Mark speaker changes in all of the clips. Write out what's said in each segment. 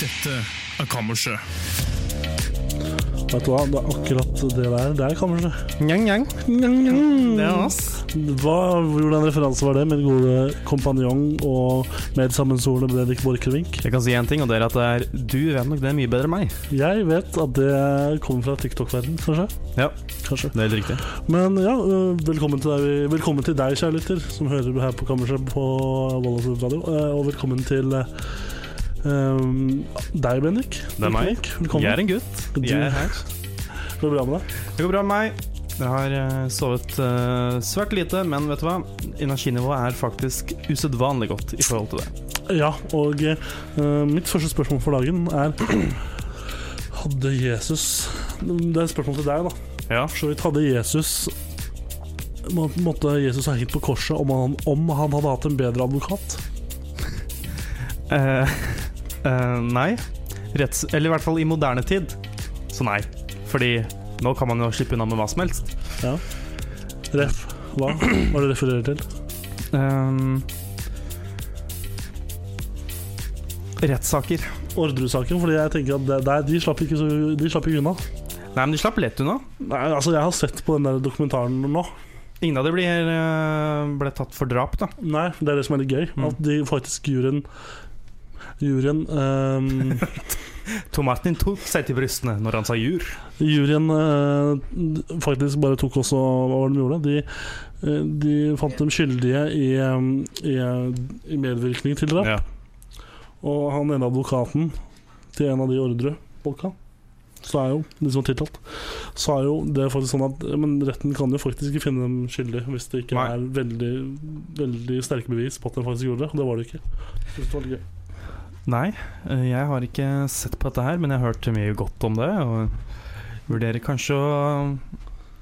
Speaker 1: Dette er kammerset.
Speaker 2: Vet du hva, det er akkurat det der. Det er kanskje
Speaker 3: Njang, njang. Det er oss.
Speaker 2: hva, Hvordan referanse var det? Min gode kompanjong og medsammensvorne Bendik Borchgrevink.
Speaker 3: Jeg kan si én ting, og det er at det er du vet nok det mye bedre enn meg.
Speaker 2: Jeg vet at det kommer fra TikTok-verden, kanskje?
Speaker 3: Ja,
Speaker 2: kanskje.
Speaker 3: det er helt riktig.
Speaker 2: Men ja, øh, velkommen til deg, velkommen til deg kjære lytter, som hører her på Kammerset på Vollafjord Radio. eh, Og velkommen til eh, ehm, deg, Bendik.
Speaker 3: Det er meg.
Speaker 2: Velkommen.
Speaker 3: Jeg er en gutt.
Speaker 2: Du-
Speaker 3: Jeg er her.
Speaker 2: Går det bra med deg?
Speaker 3: Det går bra med meg. Jeg har eh, sovet eh, svært lite, men vet du hva? Energinivået er faktisk usedvanlig godt i forhold til det.
Speaker 2: Ja, og eh, mitt første spørsmål for dagen er Hadde Jesus Det er et spørsmål til deg, da.
Speaker 3: Ja.
Speaker 2: For så vidt hadde Jesus må- Måtte Jesus ha hengt på korset om han, om han hadde hatt en bedre advokat?
Speaker 3: Eh, eh, nei. Retts... Eller i hvert fall i moderne tid. Så nei. Fordi nå kan man jo slippe unna med hva som helst.
Speaker 2: Ref. Hva var det refererer til?
Speaker 3: Um, rettssaker.
Speaker 2: Ordresaken, fordi jeg tenker at det, der, de, slapp ikke så, de slapp ikke unna.
Speaker 3: Nei, men de slapp lett unna.
Speaker 2: Nei, altså, jeg har sett på den der dokumentaren nå.
Speaker 3: Ingen av de blir, eh, ble tatt for drap, da.
Speaker 2: Nei, det er det som er litt gøy.
Speaker 3: Mm.
Speaker 2: At de faktisk juryen Juryen ehm,
Speaker 3: Tom Martin tok seg til brystene når han sa jur.
Speaker 2: Juryen eh, faktisk bare tok også Hva var det de gjorde? De, eh, de fant dem skyldige i, eh, i, eh, i medvirkning til drap.
Speaker 3: Ja.
Speaker 2: Og han ene advokaten til en av de ordrefolka sa jo, de som var tiltalt, sa jo det er faktisk sånn at eh, Men retten kan jo faktisk ikke finne dem skyldig hvis det ikke
Speaker 3: Nei.
Speaker 2: er veldig, veldig sterke bevis på at de faktisk gjorde det. Og det var det ikke. Jeg synes det var litt gøy.
Speaker 3: Nei, eh, jeg har ikke sett på dette her, men jeg har hørt mye godt om det. Og vurderer kanskje å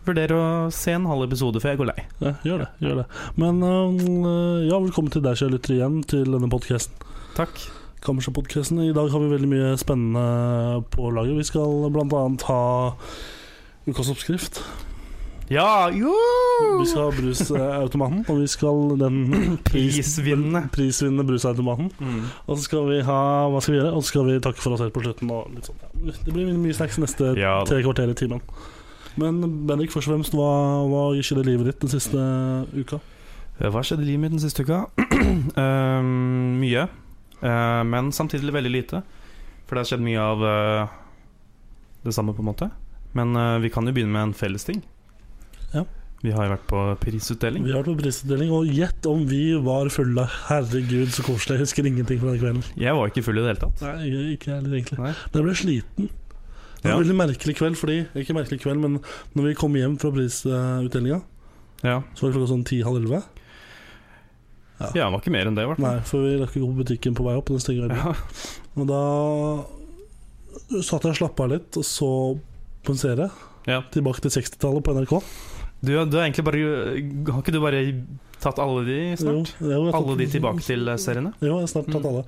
Speaker 3: Vurderer å se en halv episode før jeg går lei.
Speaker 2: Ja, gjør det. gjør det Men eh, ja, velkommen til deg, kjære lytter, igjen til denne podkasten.
Speaker 3: Takk.
Speaker 2: Kammerset-podkasten. I dag har vi veldig mye spennende på laget. Vi skal bl.a. ha ukas oppskrift.
Speaker 3: Ja, jo!
Speaker 2: Vi skal ha brusautomaten, og vi skal den pris-
Speaker 3: Prisvinnende.
Speaker 2: prisvinnende brusautomaten.
Speaker 3: Mm.
Speaker 2: Og så skal vi ha hva skal vi gjøre? Og så skal vi takke for oss helt på slutten. Og litt sånn. ja. Det blir mye snacks neste
Speaker 3: Ja da.
Speaker 2: tre kvarter i timen. Men Bendik, først og fremst, hva, hva skjedde i livet ditt den siste uka?
Speaker 3: Eh, Hva skjedde i livet mitt den siste uka? Ehm, mye. Eh, men samtidig veldig lite. For det har skjedd mye av eh, det samme, på en måte. Men eh, vi kan jo begynne med en felles ting.
Speaker 2: Ja.
Speaker 3: Vi har jo vært på prisutdeling.
Speaker 2: Vi har vært på prisutdeling, og gjett om vi var fulle. Herregud, så koselig. Jeg husker ingenting fra den kvelden.
Speaker 3: Jeg var ikke full i det hele tatt.
Speaker 2: Nei, jeg- ikke jeg heller, egentlig.
Speaker 3: Nei.
Speaker 2: Men jeg ble sliten. Det var en veldig merkelig kveld, fordi Ikke merkelig kveld, men når vi kom hjem fra prisutdelinga,
Speaker 3: Ja.
Speaker 2: så var det klokka sånn ti-halv elleve.
Speaker 3: ja, det var ikke mer enn det, i hvert fall.
Speaker 2: Nei, for vi rakk ikke gå på butikken på vei opp. Den stenger ja.
Speaker 3: Ja.
Speaker 2: Og da satt jeg og slappa av litt, og så på en serie.
Speaker 3: Ja.
Speaker 2: Tilbake til 60-tallet på NRK.
Speaker 3: Du, du har egentlig bare eh, Har ikke du bare tatt alle de snart?
Speaker 2: Jo, jo, jeg tok-
Speaker 3: Alle de tilbake til eh, seriene?
Speaker 2: Jo, jeg har snart tatt
Speaker 3: Mm.
Speaker 2: alle.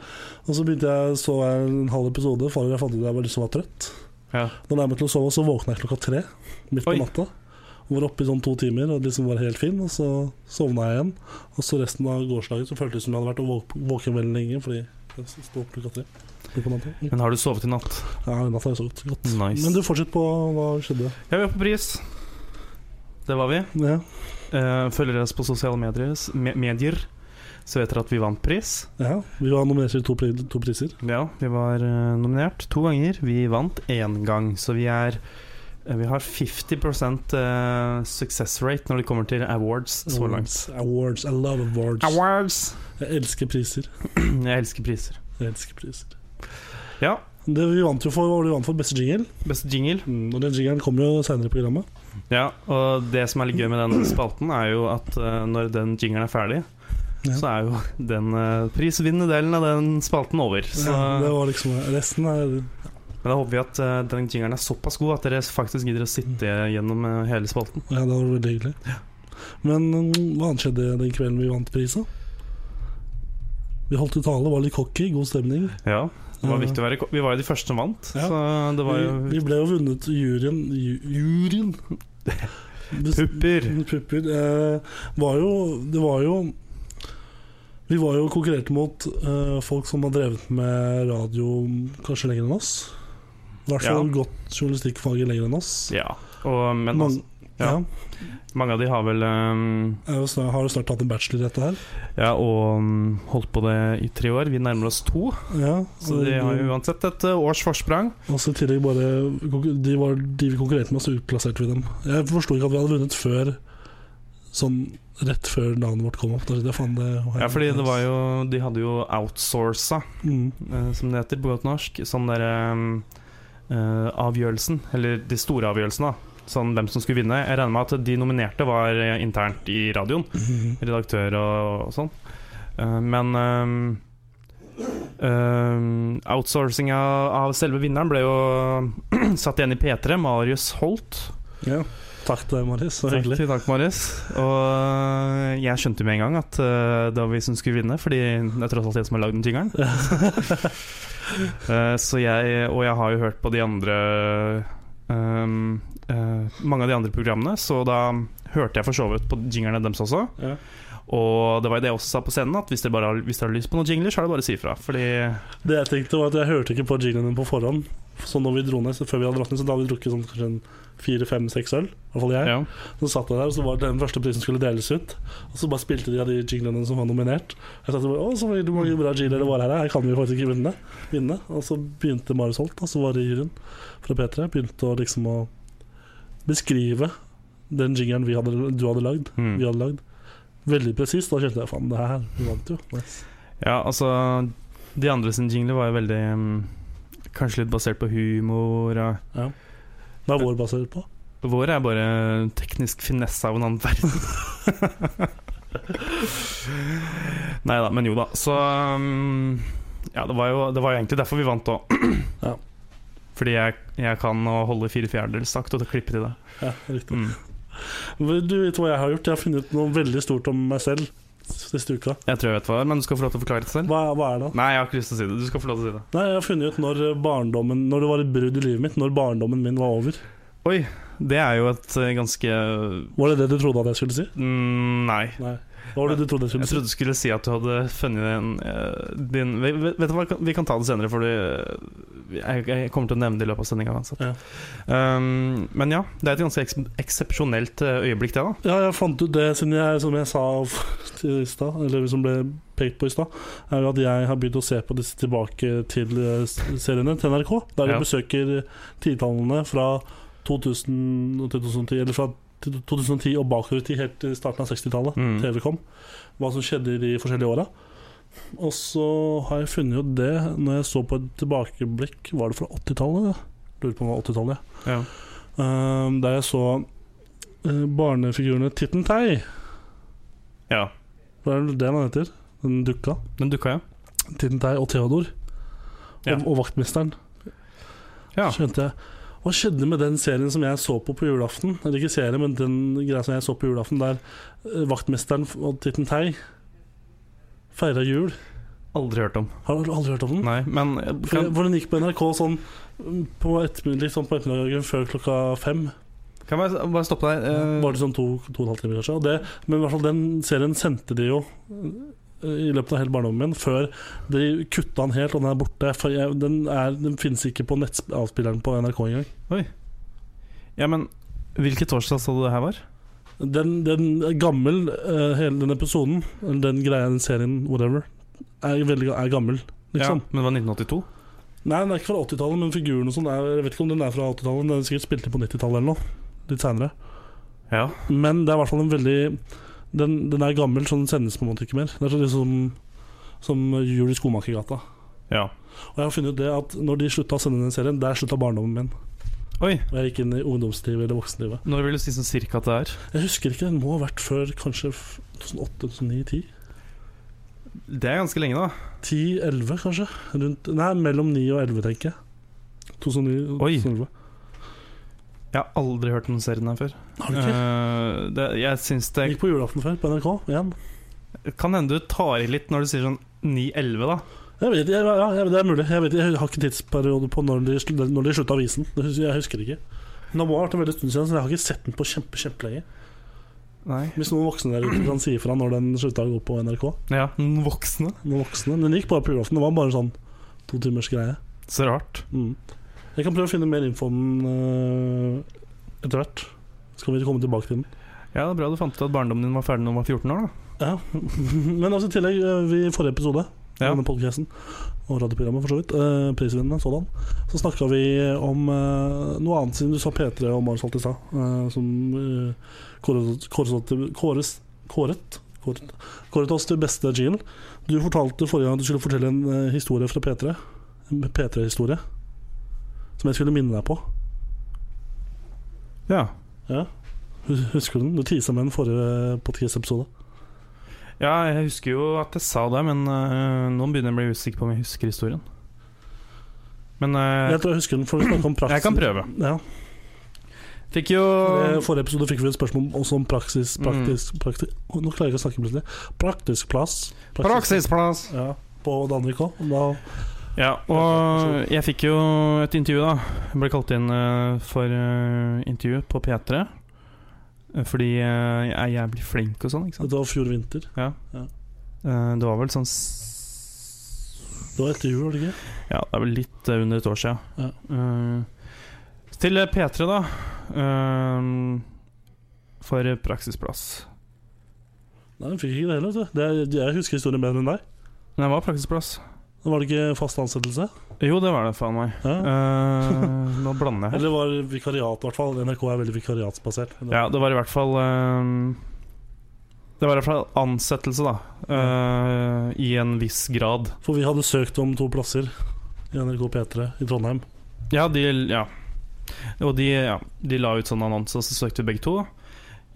Speaker 2: Og så begynte jeg, så jeg en halv episode, for jeg fant ut at jeg var liksom var trøtt.
Speaker 3: Ja.
Speaker 2: Da jeg meg til å sove, så våkna jeg klokka tre midt på
Speaker 3: Oi.
Speaker 2: natta. Og var oppe i sånn to timer og liksom var helt fin, og så sovna jeg igjen. Og så resten av gårsdagen så føltes det som jeg hadde vært vå- våken veldig lenge, fordi jeg sto opp klokka tre. midt på natta.
Speaker 3: Men har du sovet i natt?
Speaker 2: Ja, i natt har jeg sovet godt.
Speaker 3: Nice.
Speaker 2: Men du, fortsett på hva skjedde.
Speaker 3: Ja, vi var på pris. Det var vi.
Speaker 2: Ja,
Speaker 3: Eh, følger dere oss på sosiale medier, me medier så vet dere at vi vant pris.
Speaker 2: ja. Vi var nominert til to, pri to priser.
Speaker 3: Ja, vi var eh, nominert to ganger. Vi vant én gang, så vi er eh, Vi har 50 eh, success rate når det kommer til awards så langt.
Speaker 2: Awards. I love Mm. awards.
Speaker 3: Awards!
Speaker 2: Jeg elsker priser.
Speaker 3: Jeg elsker priser.
Speaker 2: Jeg elsker priser.
Speaker 3: Ja,
Speaker 2: Det vi vant jo for, var det vi vant for beste jingle.
Speaker 3: beste jingle.
Speaker 2: Mm, og den jingelen kommer jo seinere i programmet.
Speaker 3: Ja, og det som er litt gøy med den spalten, er jo at eh, når den jingelen er ferdig,
Speaker 2: Ja.
Speaker 3: så er jo den eh, prisvinnende delen av den spalten over. Så,
Speaker 2: Ja, det var liksom Resten er
Speaker 3: men da håper vi at eh, den jingeren er såpass god at dere faktisk gidder å sitte gjennom eh, hele spalten.
Speaker 2: Ja, det var veldig hyggelig. Men mm, hva annet skjedde den kvelden vi vant prisen? Vi holdt i tale, var litt cocky, god stemning.
Speaker 3: Ja, det var
Speaker 2: Ja.
Speaker 3: viktig å være ko- Vi var jo de første som vant,
Speaker 2: Ja.
Speaker 3: så det var jo
Speaker 2: Vi, vi ble jo vunnet juryen ju- Juryen! Bes-
Speaker 3: pupper.
Speaker 2: Pupper. Eh, var jo, det var jo Vi var jo konkurrerte mot eh, folk som har drevet med radio kanskje lenger enn oss. I hvert fall
Speaker 3: Ja.
Speaker 2: godt journalistikkfaget lenger enn oss.
Speaker 3: Ja. Og, men
Speaker 2: Mange-
Speaker 3: altså, ja.
Speaker 2: ja.
Speaker 3: mange av de har vel eh,
Speaker 2: jeg har jo snart- har jo snart tatt en bachelor i dette her.
Speaker 3: Ja, og mm, holdt på det i tre år. Vi nærmer oss to,
Speaker 2: Ja,
Speaker 3: så de har jo uansett et eh, års forsprang.
Speaker 2: Og så i tillegg bare De, var, de vi konkurrerte med, så utplasserte vi dem. Jeg forsto ikke at vi hadde vunnet før Sånn rett før navnet vårt kom opp. Da tenkte jeg, faen, det
Speaker 3: Ja, fordi det var jo De hadde jo outsourca,
Speaker 2: Mm.
Speaker 3: eh, som det heter på godt norsk, sånn derre eh, Avgjørelsen, eller de store avgjørelsene, da. Sånn hvem som skulle vinne. Jeg regner med at de nominerte var eh, internt i radioen.
Speaker 2: Mm.
Speaker 3: redaktør og, og sånn. Eh, men eh, eh, outsourcinga av selve vinneren ble jo satt igjen i P3. Marius Holt.
Speaker 2: Ja. Takk til deg, Marius. Det var
Speaker 3: Takk,
Speaker 2: hyggelig.
Speaker 3: takk, Marius. Og eh, jeg skjønte med en gang at eh, det var vi som skulle vinne, fordi det er tross alt jeg som har lagd den jingeren. Eh, så jeg, og jeg har jo hørt på de andre eh, eh, Mange av de andre programmene, så da hørte jeg for så vidt på jingerne deres også.
Speaker 2: Ja.
Speaker 3: Og det var jo det jeg også sa på scenen, at hvis dere, bare har, hvis dere har lyst på noen jingler, så er det bare å si ifra. Fordi
Speaker 2: Det jeg tenkte, var at jeg hørte ikke på jinglen din på forhånd. Så når vi dro ned, så før vi hadde dratt ned, så da hadde vi drukket sånn kanskje en fire-fem-seks øl. I hvert fall jeg.
Speaker 3: ja.
Speaker 2: Så satt jeg der, og så var det den første prisen skulle deles ut. Og så bare spilte de av de jinglene som var nominert. Jeg satt og bare, å, så veldig mange bra jingler det var her, her kan vi faktisk ikke vinne. vinne. Og så begynte Marius Holt, og så var det juryen fra P3, begynte å liksom å beskrive den jingeren vi hadde, du hadde lagd,
Speaker 3: Mm.
Speaker 2: vi hadde lagd. Veldig presist. Da kjente jeg faen, det her vi vant jo. Nice.
Speaker 3: ja, altså De andre sine jingler var jo veldig mm, Kanskje litt basert på humor. Og
Speaker 2: Hva er vår basert på?
Speaker 3: vår er bare teknisk finesse av en annen verden. Nei da, men jo da. Så mm, Ja, det var jo, det var jo egentlig derfor vi vant òg.
Speaker 2: Ja.
Speaker 3: Fordi jeg, jeg kan å holde fire fjerdedels takt og klippe til det.
Speaker 2: Ja, riktig.
Speaker 3: Mm.
Speaker 2: Du vet hva jeg har gjort? Jeg har funnet ut noe veldig stort om meg selv siste uka.
Speaker 3: Jeg tror jeg vet hva det er, men du skal få lov til å forklare det selv.
Speaker 2: Hva, hva er det?
Speaker 3: Nei, jeg har ikke lyst til å si det. Du skal få lov til å si det.
Speaker 2: Nei, jeg har funnet ut når barndommen Når det var et brudd i livet mitt, når barndommen min var over.
Speaker 3: Oi, det er jo et eh, ganske
Speaker 2: Var det det du trodde at jeg skulle si?
Speaker 3: mm, Nei.
Speaker 2: Nei. Hva var det du trodde jeg
Speaker 3: Jeg
Speaker 2: skulle si?
Speaker 3: trodde du skulle si at du hadde funnet en eh, din vet, vet du hva, vi kan ta det senere, for du- jeg, jeg kommer til å nevne det i løpet av sendinga uansett.
Speaker 2: Ja.
Speaker 3: Um, men ja, det er et ganske eks eksepsjonelt eh, øyeblikk, det, da.
Speaker 2: Ja, jeg fant ut det siden jeg, som jeg sa til i stad, eller som ble pekt på i stad, er jo at jeg har begynt å se på disse tilbake til eh, s- seriene til NRK. Der de
Speaker 3: Ja.
Speaker 2: besøker titallene fra 2000 og 2010, eller fra t- 2010 og bakover til helt til starten av 60-tallet.
Speaker 3: Mm.
Speaker 2: TV kom. Hva som skjedde i de forskjellige åra. Og så har jeg funnet ut det når jeg så på et tilbakeblikk Var det fra 80-tallet? Lurer på om det var 80-tallet. ja.
Speaker 3: Ja.
Speaker 2: Ehm, der jeg så eh, barnefigurene Titten Tei.
Speaker 3: ja.
Speaker 2: Hva er det den han heter? Den dukka.
Speaker 3: Den dukka, ja.
Speaker 2: Titten Tei og Theodor.
Speaker 3: Ja.
Speaker 2: Og, og vaktmesteren.
Speaker 3: Ja.
Speaker 2: Skjønte jeg. Hva skjedde med den serien som jeg så på på julaften? Eller ikke serie, men den greia som jeg så på julaften, der eh, vaktmesteren og Titten Tei feira jul.
Speaker 3: Aldri hørt om.
Speaker 2: Har du aldri hørt om den?
Speaker 3: Nei, men jeg
Speaker 2: For,
Speaker 3: kan,
Speaker 2: for den Eh, gikk på NRK sånn mm, på ettermiddag, litt sånn på ettermiddagen før klokka fem.
Speaker 3: kan jeg bare stoppe deg? eh,
Speaker 2: Var det sånn to, to og en halv time, kanskje. Og det, men i hvert fall den serien sendte de jo eh, i løpet av hele barndommen min, før de kutta den helt, og den er borte. For jeg, den, er, den finnes ikke på nettavspilleren på NRK engang.
Speaker 3: ja, men hvilket torsdag sa du det her var?
Speaker 2: Den, den er gammel, eh, hele den episoden, eller den greia, den serien, whatever, er, veldig, er gammel, liksom.
Speaker 3: Ja, men det var 1982?
Speaker 2: Nei, den er ikke fra 80-tallet, men figuren og sånn er Jeg vet ikke om den er fra 80-tallet, men den er sikkert spilt inn på 90-tallet eller noe. Litt seinere.
Speaker 3: Ja.
Speaker 2: Men det er i hvert fall en veldig Den, den er gammel, så den sendes på en måte ikke mer. Det er sånn liksom som jul i Skomakergata.
Speaker 3: ja.
Speaker 2: Og jeg har funnet ut det at når de slutta å sende den serien, der slutta barndommen min.
Speaker 3: Oi,
Speaker 2: Og jeg gikk inn i ungdomslivet eller voksenlivet.
Speaker 3: når vil du si sånn cirka at det er?
Speaker 2: Jeg husker ikke, den må ha vært før kanskje 2008-2009-10.
Speaker 3: Det er ganske lenge, da.
Speaker 2: 10-11, kanskje? Rundt, nei, mellom 9 og 11, tenker jeg. 2009 og
Speaker 3: Oi.
Speaker 2: 2011.
Speaker 3: Jeg har aldri hørt om serien her før.
Speaker 2: Har du ikke?
Speaker 3: Eh, det, jeg syns det
Speaker 2: Eh, Gikk på julaften før, på NRK. igjen
Speaker 3: Kan hende du tar i litt når du sier sånn 9-11, da.
Speaker 2: Jeg vet, jeg, ja, jeg, det er mulig. Jeg, vet, jeg har ikke tidsperiode på når de, sl- når de slutta avisen. Det hus- Jeg husker ikke. Men det må ha vært en veldig stund siden, så jeg har ikke sett den på kjempe, kjempelenge.
Speaker 3: Nei.
Speaker 2: Hvis noen voksne der ute kan si ifra når den slutta å gå på NRK.
Speaker 3: Ja, den voksne.
Speaker 2: Noen voksne Den gikk bare på julaften. Det var bare en sånn to timers greie.
Speaker 3: Så rart.
Speaker 2: Mm. Jeg kan prøve å finne mer info om den øh, etter hvert. Så kan vi komme tilbake til den.
Speaker 3: Ja, det er bra du fant ut at barndommen din var ferdig når du var 14 år, da.
Speaker 2: Ja. Men også i tillegg, øh, vi, i forrige episode
Speaker 3: Ja.
Speaker 2: denne podcasten og radioprogrammet, for så vidt, øh, prisvinnende sådan, så snakka vi om øh, noe annet, siden du sa P3 og Marius Alt i stad, øh, som øh, kåret, kåret, til- kåres, kåret, kåret, kåret oss til beste jingle. Du fortalte forrige gang at du skulle fortelle en øh, historie fra P3, en P3-historie, som jeg skulle minne deg på.
Speaker 3: Ja.
Speaker 2: Ja. Hus- Husker du den? Du tisa med den forrige eh, podcast-episode.
Speaker 3: ja, jeg husker jo at jeg sa det, men eh, nå begynner jeg å bli usikker på om jeg husker historien. Men eh,
Speaker 2: Jeg tror jeg husker den, for vi snakket om praksis.
Speaker 3: jeg kan prøve.
Speaker 2: Ja.
Speaker 3: Fikk jo
Speaker 2: I forrige episode fikk vi et spørsmål også om praksis, praktisk, praktisk Å, Nå klarer jeg ikke å snakke plutselig. Praktisk plass.
Speaker 3: Praksisplass!
Speaker 2: Ja, på Danvik òg. Da
Speaker 3: Ja, og jeg fikk jo et intervju, da. Jeg ble kalt inn eh, for eh, intervju på P3. eh, Fordi eh, jeg er jævlig flink og sånn, ikke sant.
Speaker 2: Dette var fjor vinter.
Speaker 3: Eh, Det var vel sånn s-
Speaker 2: Det var etter jul, var det ikke?
Speaker 3: Ja, det er vel litt eh, under et år siden.
Speaker 2: Ja.
Speaker 3: Eh, til eh, P3, da. eh, for eh, praksisplass.
Speaker 2: Nei, vi fikk ikke det heller. vet du. Det, er- jeg husker historien bedre enn deg.
Speaker 3: Men det var praksisplass.
Speaker 2: Var det ikke fast ansettelse?
Speaker 3: Jo, det var det, faen meg.
Speaker 2: Ja.
Speaker 3: Eh, nå blander jeg her.
Speaker 2: Eller var det vikariat, i hvert fall. NRK er veldig vikariatsbasert. Eller-
Speaker 3: Ja, det var i hvert fall eh, Det var i hvert fall ansettelse, da. eh, I en viss grad.
Speaker 2: For vi hadde søkt om to plasser i NRK P3 i Trondheim.
Speaker 3: Ja, de Ja. Og de, ja, de la ut sånn annonse, og så søkte vi begge to.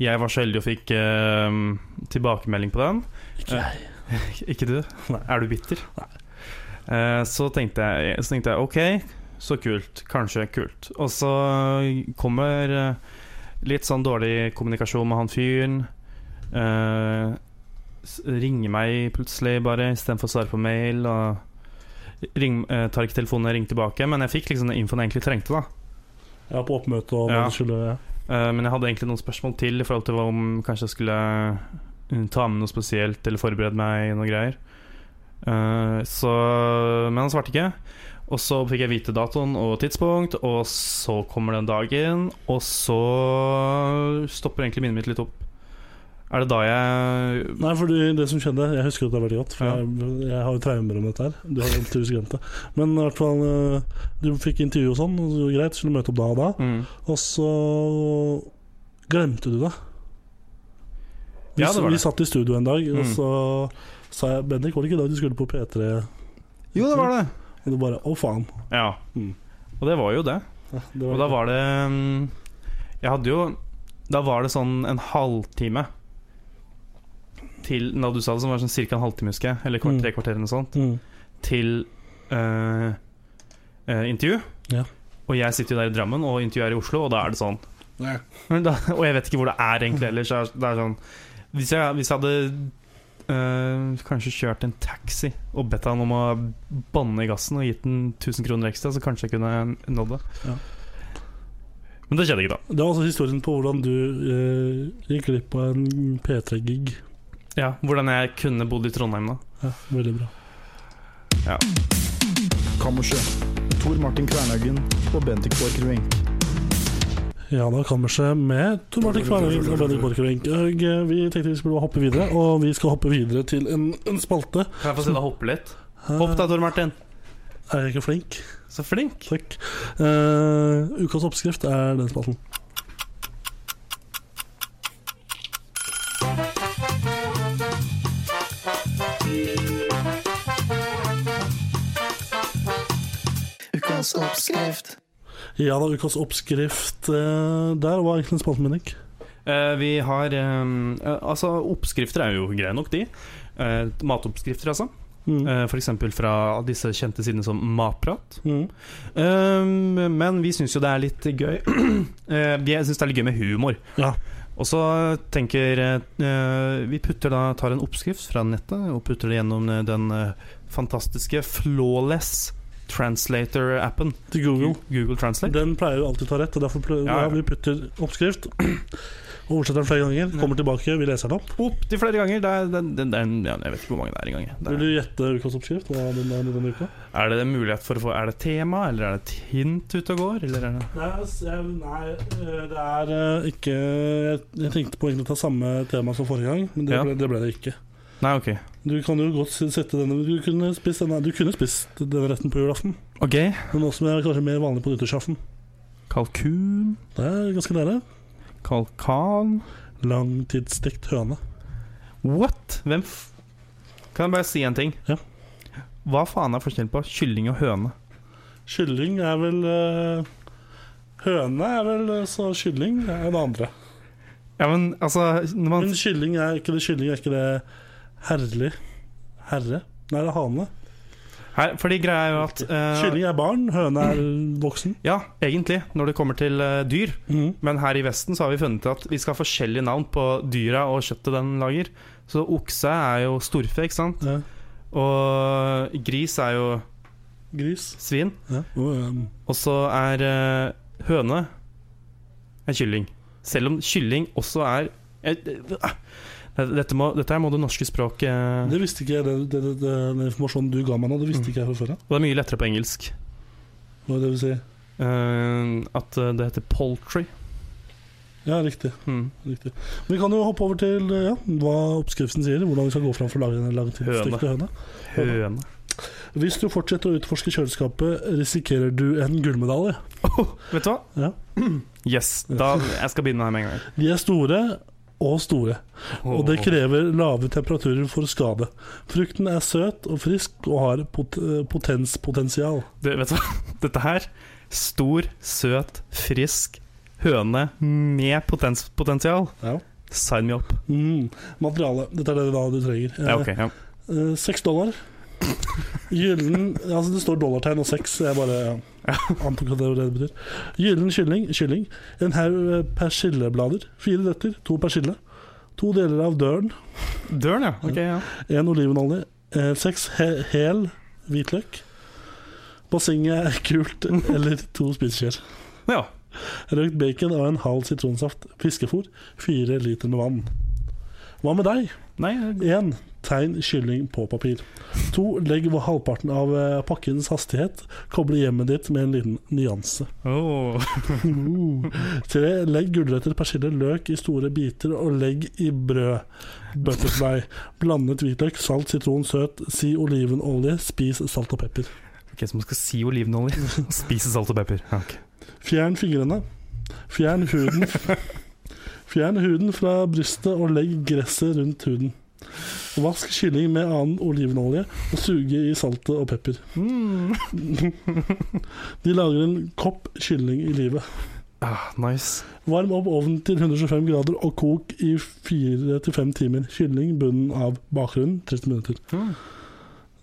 Speaker 3: Jeg var så heldig og fikk eh, tilbakemelding på den.
Speaker 2: Ikke jeg.
Speaker 3: Ikke du?
Speaker 2: Nei.
Speaker 3: Er du bitter? Eh, så, tenkte jeg, så tenkte jeg ok, så kult. Kanskje kult. Og så kommer eh, litt sånn dårlig kommunikasjon med han fyren. Eh, s- ringer meg plutselig bare istedenfor å svare på mail. Og ring, eh, tar ikke telefonen og ringer tilbake. Men jeg fikk liksom den infoen jeg egentlig trengte. da
Speaker 2: Ja, på oppmøte og hva
Speaker 3: Ja.
Speaker 2: det skulle ja.
Speaker 3: Eh, Men jeg hadde egentlig noen spørsmål til i forhold til hva om kanskje jeg skulle eh, ta med noe spesielt eller forberede meg i noen greier. Eh, så, men han svarte ikke. Og så fikk jeg vite datoen og tidspunkt, og så kommer den dagen, og så stopper egentlig minnet mitt litt opp. Er det da jeg
Speaker 2: Nei, for det som skjedde Jeg husker det veldig godt, for
Speaker 3: Ja.
Speaker 2: jeg, jeg har jo traumer om dette her. Du har jo tydeligvis glemt det. Men i hvert fall eh, du fikk intervju og sånn, og så greit, skulle møte opp da og da.
Speaker 3: mm.
Speaker 2: Og så glemte du det. Vi,
Speaker 3: Ja, det var
Speaker 2: vi
Speaker 3: det.
Speaker 2: satt i studio en dag, og
Speaker 3: Mm.
Speaker 2: så sa jeg 'Bendik, var det ikke da du skulle på P3?'
Speaker 3: Jo, det var det!
Speaker 2: Og du bare 'Å, faen'.
Speaker 3: Ja.
Speaker 2: Mm.
Speaker 3: Og det var jo det.
Speaker 2: Ja, det
Speaker 3: Og da var det mm, Jeg hadde jo Da var det sånn en halvtime til Da du sa det, som var sånn cirka en halvtime, husker jeg, eller kvart,
Speaker 2: Mm.
Speaker 3: tre kvarter eller noe sånt,
Speaker 2: mm.
Speaker 3: til eh, eh, intervju.
Speaker 2: Ja.
Speaker 3: Og jeg sitter jo der i Drammen, og intervjuet er i Oslo, og da er det sånn.
Speaker 2: Ja.
Speaker 3: Men Da, og jeg vet ikke hvor det er egentlig ellers. så er- Det er sånn Hvis jeg, hvis jeg hadde eh, kanskje kjørt en taxi og bedt han om å banne i gassen og gitt den 1000 kroner ekstra, så kanskje jeg kunne nådd det.
Speaker 2: Ja.
Speaker 3: Men det skjedde ikke, da.
Speaker 2: Det var også historien på hvordan du eh, gikk glipp av en P3-gig.
Speaker 3: Ja, Hvordan jeg kunne bodd i Trondheim da.
Speaker 2: Ja, veldig bra.
Speaker 4: Kammerset. Tor Martin Kvernhaugen og Bendik Borchgrevink.
Speaker 2: Ja da, kammerset med Tor Martin Kvernhagen og Bendik Borchgrevink. Og, eh, Vi tenkte vi skulle hoppe videre, og vi skal hoppe videre til en, en spalte.
Speaker 3: Kan jeg få se deg hoppe litt?
Speaker 2: Eh,
Speaker 3: Hopp da, Tor Martin.
Speaker 2: Er jeg ikke flink?
Speaker 3: Så flink.
Speaker 2: Takk. Eh, ukas oppskrift er den spalten.
Speaker 5: Ukas oppskrift.
Speaker 2: Ja da, ukas oppskrift eh, Der var egentlig spalten min, ikke?
Speaker 3: Eh, vi har eh, eh, Altså, oppskrifter er jo greie nok, de. eh, matoppskrifter, altså.
Speaker 2: Mm.
Speaker 3: Eh, F.eks. fra disse kjente sidene som Matprat.
Speaker 2: Mm.
Speaker 3: Um, men vi syns jo det er litt gøy Eh, Jeg syns det er litt gøy med humor.
Speaker 2: Ja.
Speaker 3: Og så tenker eh, Vi putter da, tar en oppskrift fra nettet og putter det gjennom eh, den eh, fantastiske Flawless Translator-appen.
Speaker 2: Til Google.
Speaker 3: Google Translate.
Speaker 2: Den pleier jo alltid å ta rett, og derfor prøver,
Speaker 3: Ja, ja.
Speaker 2: ja, vi putter oppskrift. Oversetter den flere ganger, kommer tilbake, vi leser den opp.
Speaker 3: Opp til flere ganger. Det er, det, det, det er, en- ja, jeg vet ikke hvor mange det er engang. jeg. Det
Speaker 2: Vil
Speaker 3: er-
Speaker 2: du gjette ukas oppskrift? Hva den er denne uka?
Speaker 3: Er det en mulighet for å få Er det tema, eller er det et hint ute og går? Eller er det
Speaker 2: Nei, s- jeg- nei, øh, det er øh, ikke Jeg jeg tenkte på egentlig å ta samme tema som forrige gang, men det
Speaker 3: Ja.
Speaker 2: ble det, ble det ikke.
Speaker 3: Nei, ok.
Speaker 2: Du kan jo godt s- sette denne Du kunne spist denne, du kunne spist denne retten på julaften,
Speaker 3: Ok,
Speaker 2: men nå som det er kanskje mer vanlig på nyttårsaften.
Speaker 3: Kalkun,
Speaker 2: Det er ganske nære.
Speaker 3: kalkan
Speaker 2: Langtidsstekt høne.
Speaker 3: What? Hvem f... Kan jeg bare si en ting?
Speaker 2: Ja.
Speaker 3: Hva faen er forskjellen på kylling og høne?
Speaker 2: Kylling er vel øh, Høne er vel øh, så kylling er det andre.
Speaker 3: Ja, men altså når man,
Speaker 2: Men kylling er ikke det kylling er ikke det herlig Herre? Nei, det er hane.
Speaker 3: her, Fordi greia er jo at eh,
Speaker 2: Kylling er barn, høne er voksen.
Speaker 3: Ja, egentlig, når det kommer til eh, dyr.
Speaker 2: Mhm.
Speaker 3: Men her i Vesten så har vi funnet at vi skal ha forskjellige navn på dyra og kjøttet den lager. Så okse er jo storfe, ikke sant?
Speaker 2: Ja.
Speaker 3: Og gris er jo
Speaker 2: Gris. ehm,
Speaker 3: svin.
Speaker 2: Ja.
Speaker 3: Og så er eh, høne er kylling. Selv om kylling også er eh, eh, dette, må, dette her må det norske eh, språket
Speaker 2: Det visste ikke jeg, det, det, det, det, den informasjonen du ga meg nå, det visste ikke jeg fra før. ja.
Speaker 3: Og det er mye lettere på engelsk.
Speaker 2: Hva er det vi sier?
Speaker 3: Eh, at eh, det heter poultry.
Speaker 2: Ja, riktig.
Speaker 3: Hmm.
Speaker 2: riktig. Vi kan jo hoppe over til eh, ja, hva oppskriften sier. Hvordan vi skal gå fram for å lage en langtidsstekte høne.
Speaker 3: Høne.
Speaker 2: Hvis du fortsetter å utforske kjøleskapet, risikerer du en gullmedalje.
Speaker 3: Vet du hva?
Speaker 2: Ja.
Speaker 3: Yes. Da, jeg skal begynne her med en gang.
Speaker 2: De er store og store, og det krever lave temperaturer for skade. Frukten er søt og frisk og har pot eh, potenspotensial.
Speaker 3: Du, vet du hva? Dette her Stor, søt, frisk høne med potens potensial.
Speaker 2: Ja.
Speaker 3: Sign me up.
Speaker 2: Mm. Materiale. Dette er det da du trenger.
Speaker 3: Ja, ok. Ja.
Speaker 2: Eh, Seks dollar. Gyllen Altså, det står dollartegn og seks. Jeg bare ja, antok at det var det det betyr. Gyllen kylling. kylling En haug eh, persilleblader. Fire nøtter. To persille. To deler av døren.
Speaker 3: Døren, ja. Ok, ja.
Speaker 2: En olivenolje. eh, Seks he hel hvitløk. Bassenget er kult, eller to spiseskjeer.
Speaker 3: ja.
Speaker 2: Røkt bacon og en halv sitronsaft. Fiskefôr. Fire liter med vann. Hva med deg?
Speaker 3: Nei, jeg-
Speaker 2: 1. Tegn kylling på papir. 2. Legg halvparten av eh, pakkens hastighet. Koble hjemmet ditt med en liten nyanse.
Speaker 3: Åh.
Speaker 2: 3. Legg gulrøtter, persille, løk i store biter og legg i brød. Butterfly. Blandet hvitløk, salt, sitron, søt. Si olivenolje. Spis salt og pepper.
Speaker 3: Ok, Så man skal si olivenolje? Spise salt og pepper. Ja, ok.
Speaker 2: Fjern fingrene. Fjern huden. Fjern huden fra brystet og legg gresset rundt huden. Vask kylling med annen olivenolje og suge i saltet og pepper. De lager en kopp kylling i livet.
Speaker 3: Ah, nice.
Speaker 2: Varm opp ovnen til 125 grader og kok i 4-5 timer. Kylling bunnen av bakgrunnen 30 minutter.
Speaker 3: Mm.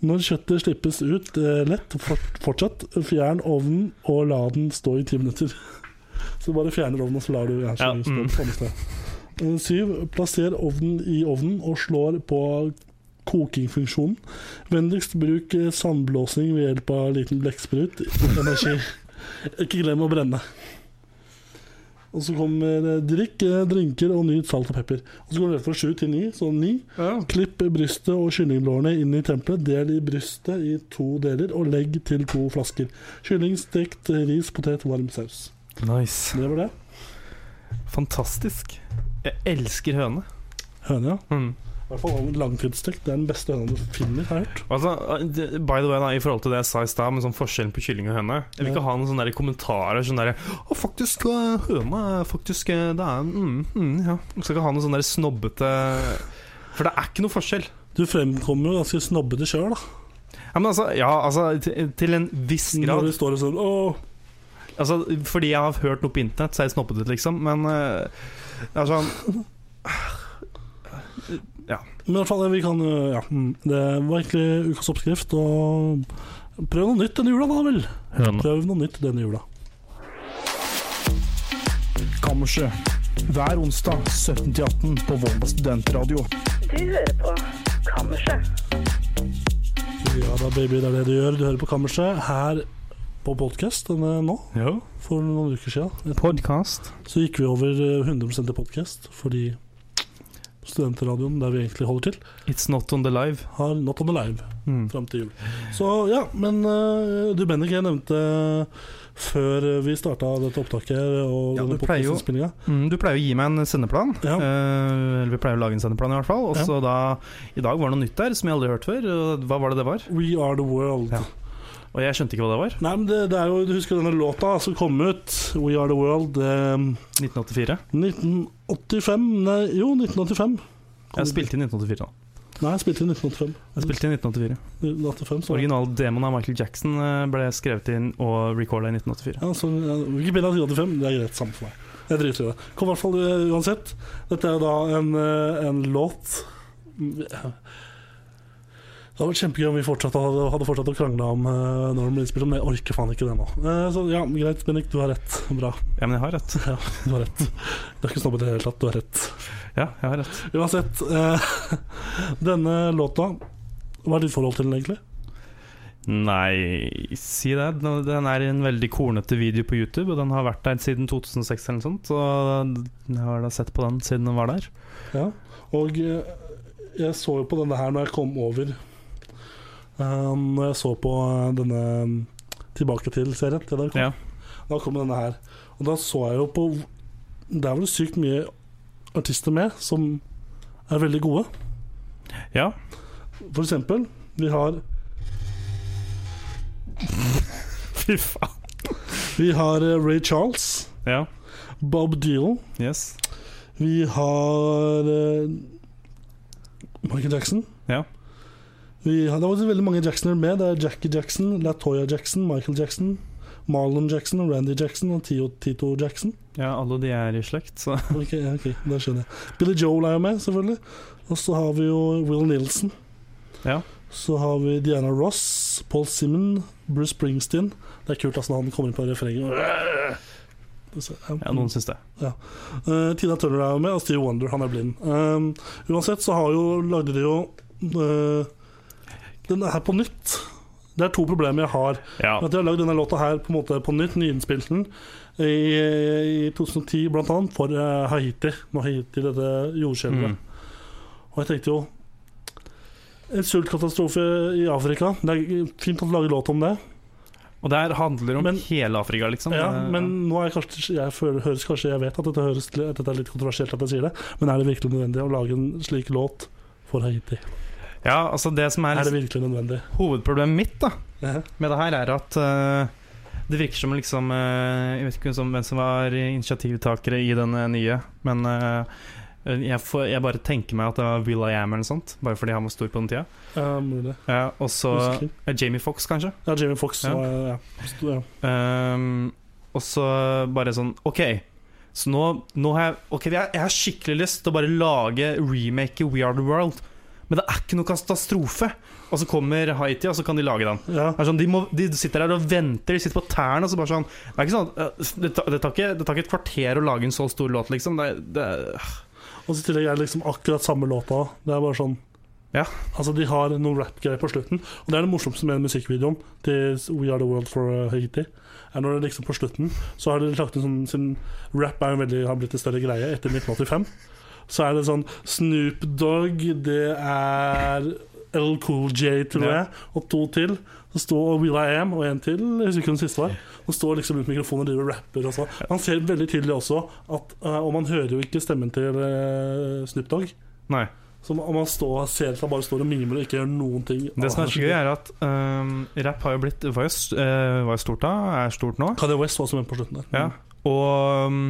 Speaker 2: Når kjøttet slippes ut eh, lett, fort, fortsatt fjern ovnen og la den stå i ti minutter. Så bare fjerner ovnen, og så lar du ja,
Speaker 3: Ja, mm.
Speaker 2: stå samme sted. Eh, Syv, plasser ovnen i ovnen og slår på kokingfunksjonen. Vennligst bruk eh, sandblåsning ved hjelp av liten blekksprut. Energi. Ikke glem å brenne. Og så kommer eh, drikk, eh, drinker og nyt salt og pepper. Og så går det ned fra sju til ni, så ni. Klipp brystet og kyllinglårene inn i tempelet. Del i brystet i to deler og legg til to flasker. Kylling, stekt ris, potet, varm saus.
Speaker 3: Nice.
Speaker 2: Det var det.
Speaker 3: Fantastisk. Jeg elsker høne.
Speaker 2: Høne, ja.
Speaker 3: Mm.
Speaker 2: I hvert fall langtidsstekt. Det er den beste høna du finner, har jeg hørt.
Speaker 3: Altså, d- by the way, da, I forhold til det jeg sa i stad, med sånn forskjellen på kylling og høne Jeg vil ikke ha noen sånne der kommentarer sånn derre Å, faktisk, øh, høne er faktisk øh, Det er mm, mm, Ja. Jeg skal ikke ha noen sånne der snobbete For det er ikke noe forskjell.
Speaker 2: Du fremkommer jo ganske snobbete sjøl, da.
Speaker 3: Ja, men altså, ja, altså til, til en viss grad.
Speaker 2: Når du står og sånn Åh,
Speaker 3: Altså, fordi jeg har hørt noe på internett, så er jeg snoppet ut, liksom. Men eh, det er sånn
Speaker 2: Men i hvert fall, vi kan øh, Ja. mm, Det var egentlig ukas oppskrift. Og prøv noe nytt denne jula, da vel.
Speaker 3: Høne.
Speaker 2: Prøv noe nytt denne jula.
Speaker 4: Kammerset. Hver onsdag 17-18 på Volda studentradio.
Speaker 6: Du hører på Kammerset.
Speaker 2: Ja da, baby, det er det du gjør. Du hører på Kammerset her på podkast nå,
Speaker 3: Jo.
Speaker 2: for noen uker siden.
Speaker 3: Podcast.
Speaker 2: Så gikk vi over eh, 100 til podkast fordi studentradioen, der vi egentlig holder til,
Speaker 3: It's not on the live.
Speaker 2: har Not on the Live.
Speaker 3: Mm.
Speaker 2: fram til jul. Så ja, men eh, du Bendik, jeg nevnte før vi starta dette opptaket og
Speaker 3: Ja,
Speaker 2: denne
Speaker 3: du pleier jo-
Speaker 2: podcastinnspillingen.
Speaker 3: Mm, du pleier å gi meg en sendeplan.
Speaker 2: Ja.
Speaker 3: Eh, eller vi pleier å lage en sendeplan, i hvert fall. Og så da I dag var det noe nytt der som jeg aldri har hørt før. Og hva var det det var?
Speaker 2: We are the world.
Speaker 3: Ja. Og jeg skjønte ikke hva det var.
Speaker 2: Nei, men det, det er jo, Du husker denne låta som kom ut, We are the world, eh,
Speaker 3: 1984.
Speaker 2: 1985 Nei, jo, 1985.
Speaker 3: Jeg spilte i 1984. da
Speaker 2: Nei, jeg spilte i 1985.
Speaker 3: Jeg spilte i 1984
Speaker 2: 1985 så.
Speaker 3: Originaldemoen av Michael Jackson eh, ble skrevet inn og recorda i 1984.
Speaker 2: Ja, så, ja, Wikipedia 1985, det er greit, samme for meg. Jeg driter i det. Kom i hvert fall eh, uansett. Dette er jo da en, eh, en låt Det hadde vært kjempegøy om vi fortsatt hadde, hadde fortsatt å krangle om eh, når den ble innspilt, men jeg orker faen ikke det nå. Eh, så ja, greit, Bennik, du har rett. Bra.
Speaker 3: Ja, men jeg har rett.
Speaker 2: Ja, du har rett. Det er ikke snobbete i det hele tatt, du har rett.
Speaker 3: Ja, jeg har rett.
Speaker 2: Uansett, eh, denne låta Hva er ditt forhold til den, egentlig?
Speaker 3: Nei, si det. Den- Den er i en veldig kornete video på YouTube, og den har vært der siden 2006 eller noe sånt. Så jeg har da sett på den siden den var der.
Speaker 2: Ja, og eh, jeg så jo på denne her når jeg kom over Eh, Når jeg så på eh, denne mm, Tilbake til serien til der kom.
Speaker 3: Ja.
Speaker 2: Da kom denne her Og da så jeg jo på Der var det sykt mye artister med Som er veldig gode
Speaker 3: Ja.
Speaker 2: For eksempel, vi har
Speaker 3: Fy faen.
Speaker 2: Vi har eh, Ray Charles
Speaker 3: Ja.
Speaker 2: Bob Dylan
Speaker 3: Yes.
Speaker 2: Vi har eh, Michael Jackson
Speaker 3: Ja.
Speaker 2: Vi har, det var veldig mange Jacksoner med. Det er Jackie Jackson, Latoya Jackson, Michael Jackson, Marlon Jackson, Randy Jackson og Tio, Tito Jackson.
Speaker 3: Ja, alle de er i slekt, så
Speaker 2: Ok, ja, ok, da skjønner jeg. Billy Joel er jo med, selvfølgelig. Og så har vi jo Will Nielsen.
Speaker 3: Ja.
Speaker 2: Så har vi Diana Ross, Paul Simon, Bruce Springsteen. Det er kult altså, når han kommer inn på refrenget. og- Så,
Speaker 3: Ja, noen syns det.
Speaker 2: Eh, Tina Turner er jo med, og Steve Wonder, han er blind. Um, uansett så har jo, lagde de jo eh, Den er på nytt. Det er to problemer jeg har.
Speaker 3: Ja.
Speaker 2: At de har lagd denne låta her på, en måte på nytt, nyinnspilt den, i, i 2010 blant annet, for eh, Haiti. Når Haiti, dette jordskjelvet.
Speaker 3: Mm.
Speaker 2: Og jeg tenkte jo En sultkatastrofe i Afrika. Det er fint at du lager låt om det.
Speaker 3: Og det her handler om
Speaker 2: Men-
Speaker 3: hele Afrika, liksom.
Speaker 2: eh, Ja,
Speaker 3: Det-
Speaker 2: men nå er jeg kanskje jeg føler, høres kanskje, jeg vet at dette, høres, at dette er litt kontroversielt at jeg sier det, men er det virkelig nødvendig å lage en slik låt for Haiti?
Speaker 3: ja, altså det som er,
Speaker 2: Er det
Speaker 3: liksom,
Speaker 2: virkelig nødvendig?
Speaker 3: hovedproblemet mitt da
Speaker 2: Ja.
Speaker 3: med det her, er at eh, det virker som liksom eh, Jeg vet ikke som, hvem som var initiativtakere i den eh, nye, men eh, jeg, får, jeg bare tenker meg at det var Will I Am eller noe sånt, bare fordi han var stor på den tida.
Speaker 2: Ja, mulig.
Speaker 3: Ja, og så
Speaker 2: Husker.
Speaker 3: eh, Jamie Fox, kanskje.
Speaker 2: Ja, Jamie Fox
Speaker 3: Ja.
Speaker 2: var ja. Sto- ja.
Speaker 3: Ehm, og så bare sånn OK, så nå, nå har jeg Ok, jeg, jeg har skikkelig lyst til å bare lage remake i We Are The World, men det er ikke noe katastrofe. Og så kommer Haiti, og så kan de lage den.
Speaker 2: ja.
Speaker 3: Det er sånn, de, må, de sitter der og venter, de sitter på tærne og så bare sånn Det er ikke sånn at, eh, det, tar, det, tar ikke, det tar ikke et kvarter å lage en så stor låt, liksom. Det, er- det, er-
Speaker 2: Og så i tillegg er det liksom akkurat samme låta. Det er bare sånn
Speaker 3: Ja.
Speaker 2: Altså, de har noen rap-greier på slutten, og det er det morsomste med den musikkvideoen til We Are The World for uh, Haiti. Er når det liksom på slutten Så har de lagt en sånn sin Rap er jo veldig, har blitt en større greie etter 1985. Så er det sånn Snoop Dogg, det er L. Cool J, tror
Speaker 3: Ja.
Speaker 2: jeg, og to til. Så står Will I Am og en til, jeg husker ikke hvem den siste var. Og står liksom rundt mikrofonen og driver og rapper og sånn. Man ser veldig tydelig også at eh, Og man hører jo ikke stemmen til eh, Snoop Dogg.
Speaker 3: Nei.
Speaker 2: Så om man står, ser at han bare står og mimrer og ikke gjør noen ting.
Speaker 3: Det som er så gøy, er at um, rapp har jo blitt var jo, s- eh, var jo stort da, er stort nå.
Speaker 2: Kanye West var også med på slutten der.
Speaker 3: Ja. Og um,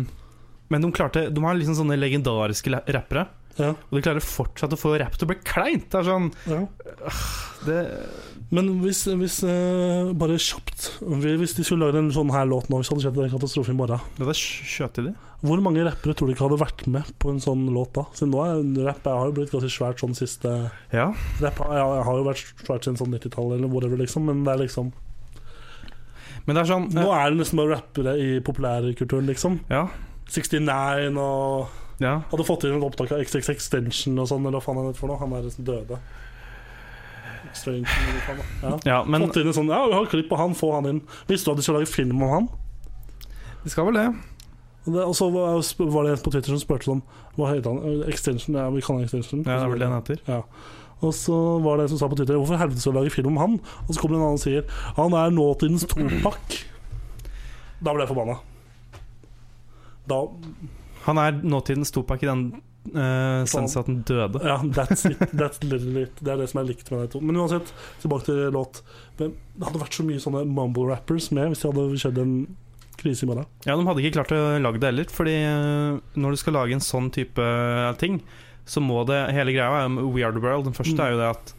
Speaker 3: Men de klarte De har liksom sånne legendariske la- rappere.
Speaker 2: Ja,
Speaker 3: Og de klarer fortsatt å få rapp til å bli kleint. Det er sånn
Speaker 2: ja.
Speaker 3: Det,
Speaker 2: Men hvis, hvis eh, Bare kjapt. Hvis de skulle lagd en sånn her låt nå, hvis det hadde skjedd en katastrofe i morgen,
Speaker 3: det er skjøtidlig.
Speaker 2: hvor mange rappere tror du ikke hadde vært med på en sånn låt da? Siden nå er rapp jeg har jo blitt ganske svært sånn siste
Speaker 3: Ja.
Speaker 2: Rapp har, ja, har jo vært svært siden sånn 90-tallet eller whatever, liksom, men det er liksom
Speaker 3: Men det er sånn
Speaker 2: Nå er det nesten bare rappere i populærkulturen, liksom.
Speaker 3: Ja.
Speaker 2: 69 og
Speaker 3: ja.
Speaker 2: Hadde fått inn et opptak av XX Extension og sånn, eller hva faen han heter for noe. Han er liksom døde. Strange, eller hva faen, da. ja.
Speaker 3: ja men
Speaker 2: fått inn en sånn Ja, vi har klipp på han, få han inn. Visste du at de skulle lage film om han?
Speaker 3: de skal vel det.
Speaker 2: Og, det, og så var var det en på Twitter som spurte sånn Hva heter han? Extension? Ja, vi kaller han Extension.
Speaker 3: Ja, det er vel det den heter.
Speaker 2: Ja. Og så var det en som sa på Twitter Hvorfor helvete skal du lage film om han? Og så kommer det en annen og sier Han er nåtidens Topak. Da ble jeg forbanna. Da
Speaker 3: Han er nåtidens Topak i den uh, sense at han døde.
Speaker 2: Ja, that's it. That's literally it. Det er det som jeg likte med de to. Men uansett, tilbake til låt. Men Det hadde vært så mye sånne mumble rappers med hvis det hadde skjedd en krise i morgen.
Speaker 3: Ja, De hadde ikke klart å lage det heller, Fordi eh, når du skal lage en sånn type ting, så må det Hele greia er jo med We Are The World. Den første
Speaker 2: Mm.
Speaker 3: er jo det at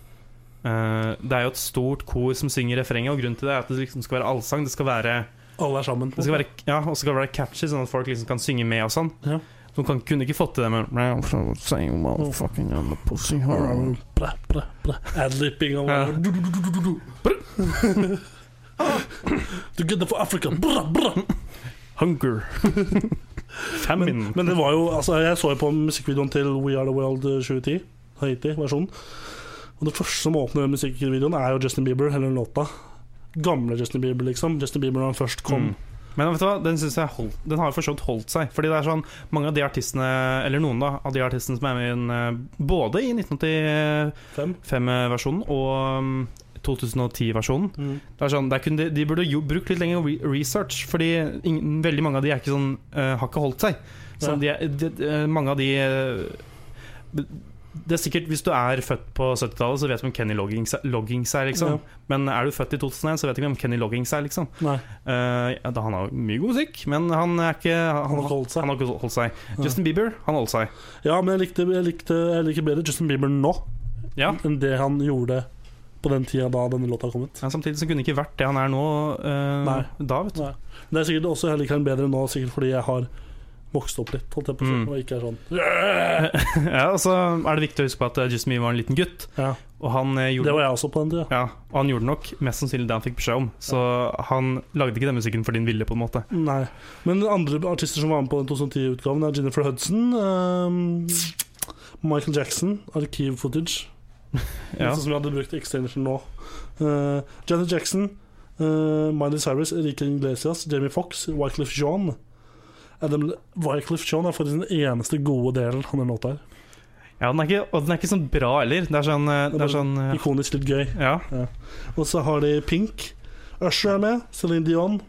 Speaker 3: eh, det er jo et stort kor som synger refrenget, og grunnen til det er at det liksom skal være allsang. Det skal være
Speaker 2: Alle er sammen.
Speaker 3: Det skal være, ja, og så skal det være catchy, sånn at folk liksom kan synge med og sånn.
Speaker 2: Ja.
Speaker 3: De kan, kunne ikke fått til det med
Speaker 2: Bra, bra, bra. Adlipping av
Speaker 3: Ja.
Speaker 2: Du, du, du, du, du, du. Together for Africa. Bra, bra.
Speaker 3: Hunger. Famine.
Speaker 2: Men det var jo Altså, jeg så jo på musikkvideoen til We Are The World eh, 2010. Haiti-versjonen. Og det første som åpner den musikkvideoen, er jo Justin Bieber, eller låta. Gamle Justin Bieber, liksom. Justin Bieber når han først kom.
Speaker 3: Mm. Men vet du hva, den, synes jeg holdt, den har jo for så vidt holdt seg. Fordi det er sånn mange av de artistene, eller noen da, av de artistene som er med i den, eh, både i
Speaker 2: Fem.
Speaker 3: 1985-versjonen og mm, 2010-versjonen Det er sånn, det er kun de, de burde jo brukt litt lenger re research, fordi ingen, veldig mange av de er ikke sånn, eh, har ikke holdt seg. Så de, er- de, eh, mange av de eh, Det er sikkert Hvis du er født på 70-tallet, så vet du hvem Kenny Loggings, er- Loggings er, liksom.
Speaker 2: Ja.
Speaker 3: Men er du født i 2001, så vet du ikke hvem Kenny Loggings er, liksom.
Speaker 2: Nei,
Speaker 3: Eh, ja, da, han har jo mye god musikk, men han er ikke Han,
Speaker 2: han har ikke holdt seg.
Speaker 3: han har ikke holdt seg. Justin Bieber, han holdt seg.
Speaker 2: Ja, men jeg, likte, jeg, likte, jeg liker bedre Justin Bieber nå
Speaker 3: Ja.
Speaker 2: enn det han gjorde på den tida da denne låta kom ut.
Speaker 3: Men samtidig så kunne det ikke vært det han er nå eh,
Speaker 2: Nei.
Speaker 3: da, vet du.
Speaker 2: Nei. Men det er sikkert også jeg liker han bedre nå, sikkert fordi jeg har vokst opp litt, holdt jeg på å si,
Speaker 3: Mm.
Speaker 2: og ikke er sånn
Speaker 3: ja, og så er det viktig å huske på at eh, Justin Bieber var en liten gutt,
Speaker 2: Ja,
Speaker 3: og han eh,
Speaker 2: det
Speaker 3: gjorde
Speaker 2: var jeg også på den tida.
Speaker 3: ja, og han gjorde nok mest sannsynlig det han fikk beskjed om. Så han lagde ikke den musikken for din vilje, på en måte.
Speaker 2: Nei. Men andre artister som var med på den 2010-utgaven, er Jennifer Hudson, ehm, Michael Jackson, Arkiv Footage,
Speaker 3: Ja.
Speaker 2: sånn som vi hadde brukt i Extension nå. Eh, Janet Jackson, eh, Miley Cyrus, Erika Iglesias, Jamie Foxx, Wyclef Jean. Adam Wyclef Jean er faktisk den eneste gode delen av den låta her.
Speaker 3: Ja, den er ikke, og den er ikke sånn bra heller. Det er sånn, eh, det er sånn eh,
Speaker 2: Ikonisk litt gøy.
Speaker 3: Ja.
Speaker 2: Og så har de Pink. Usher er med. Celine Dion.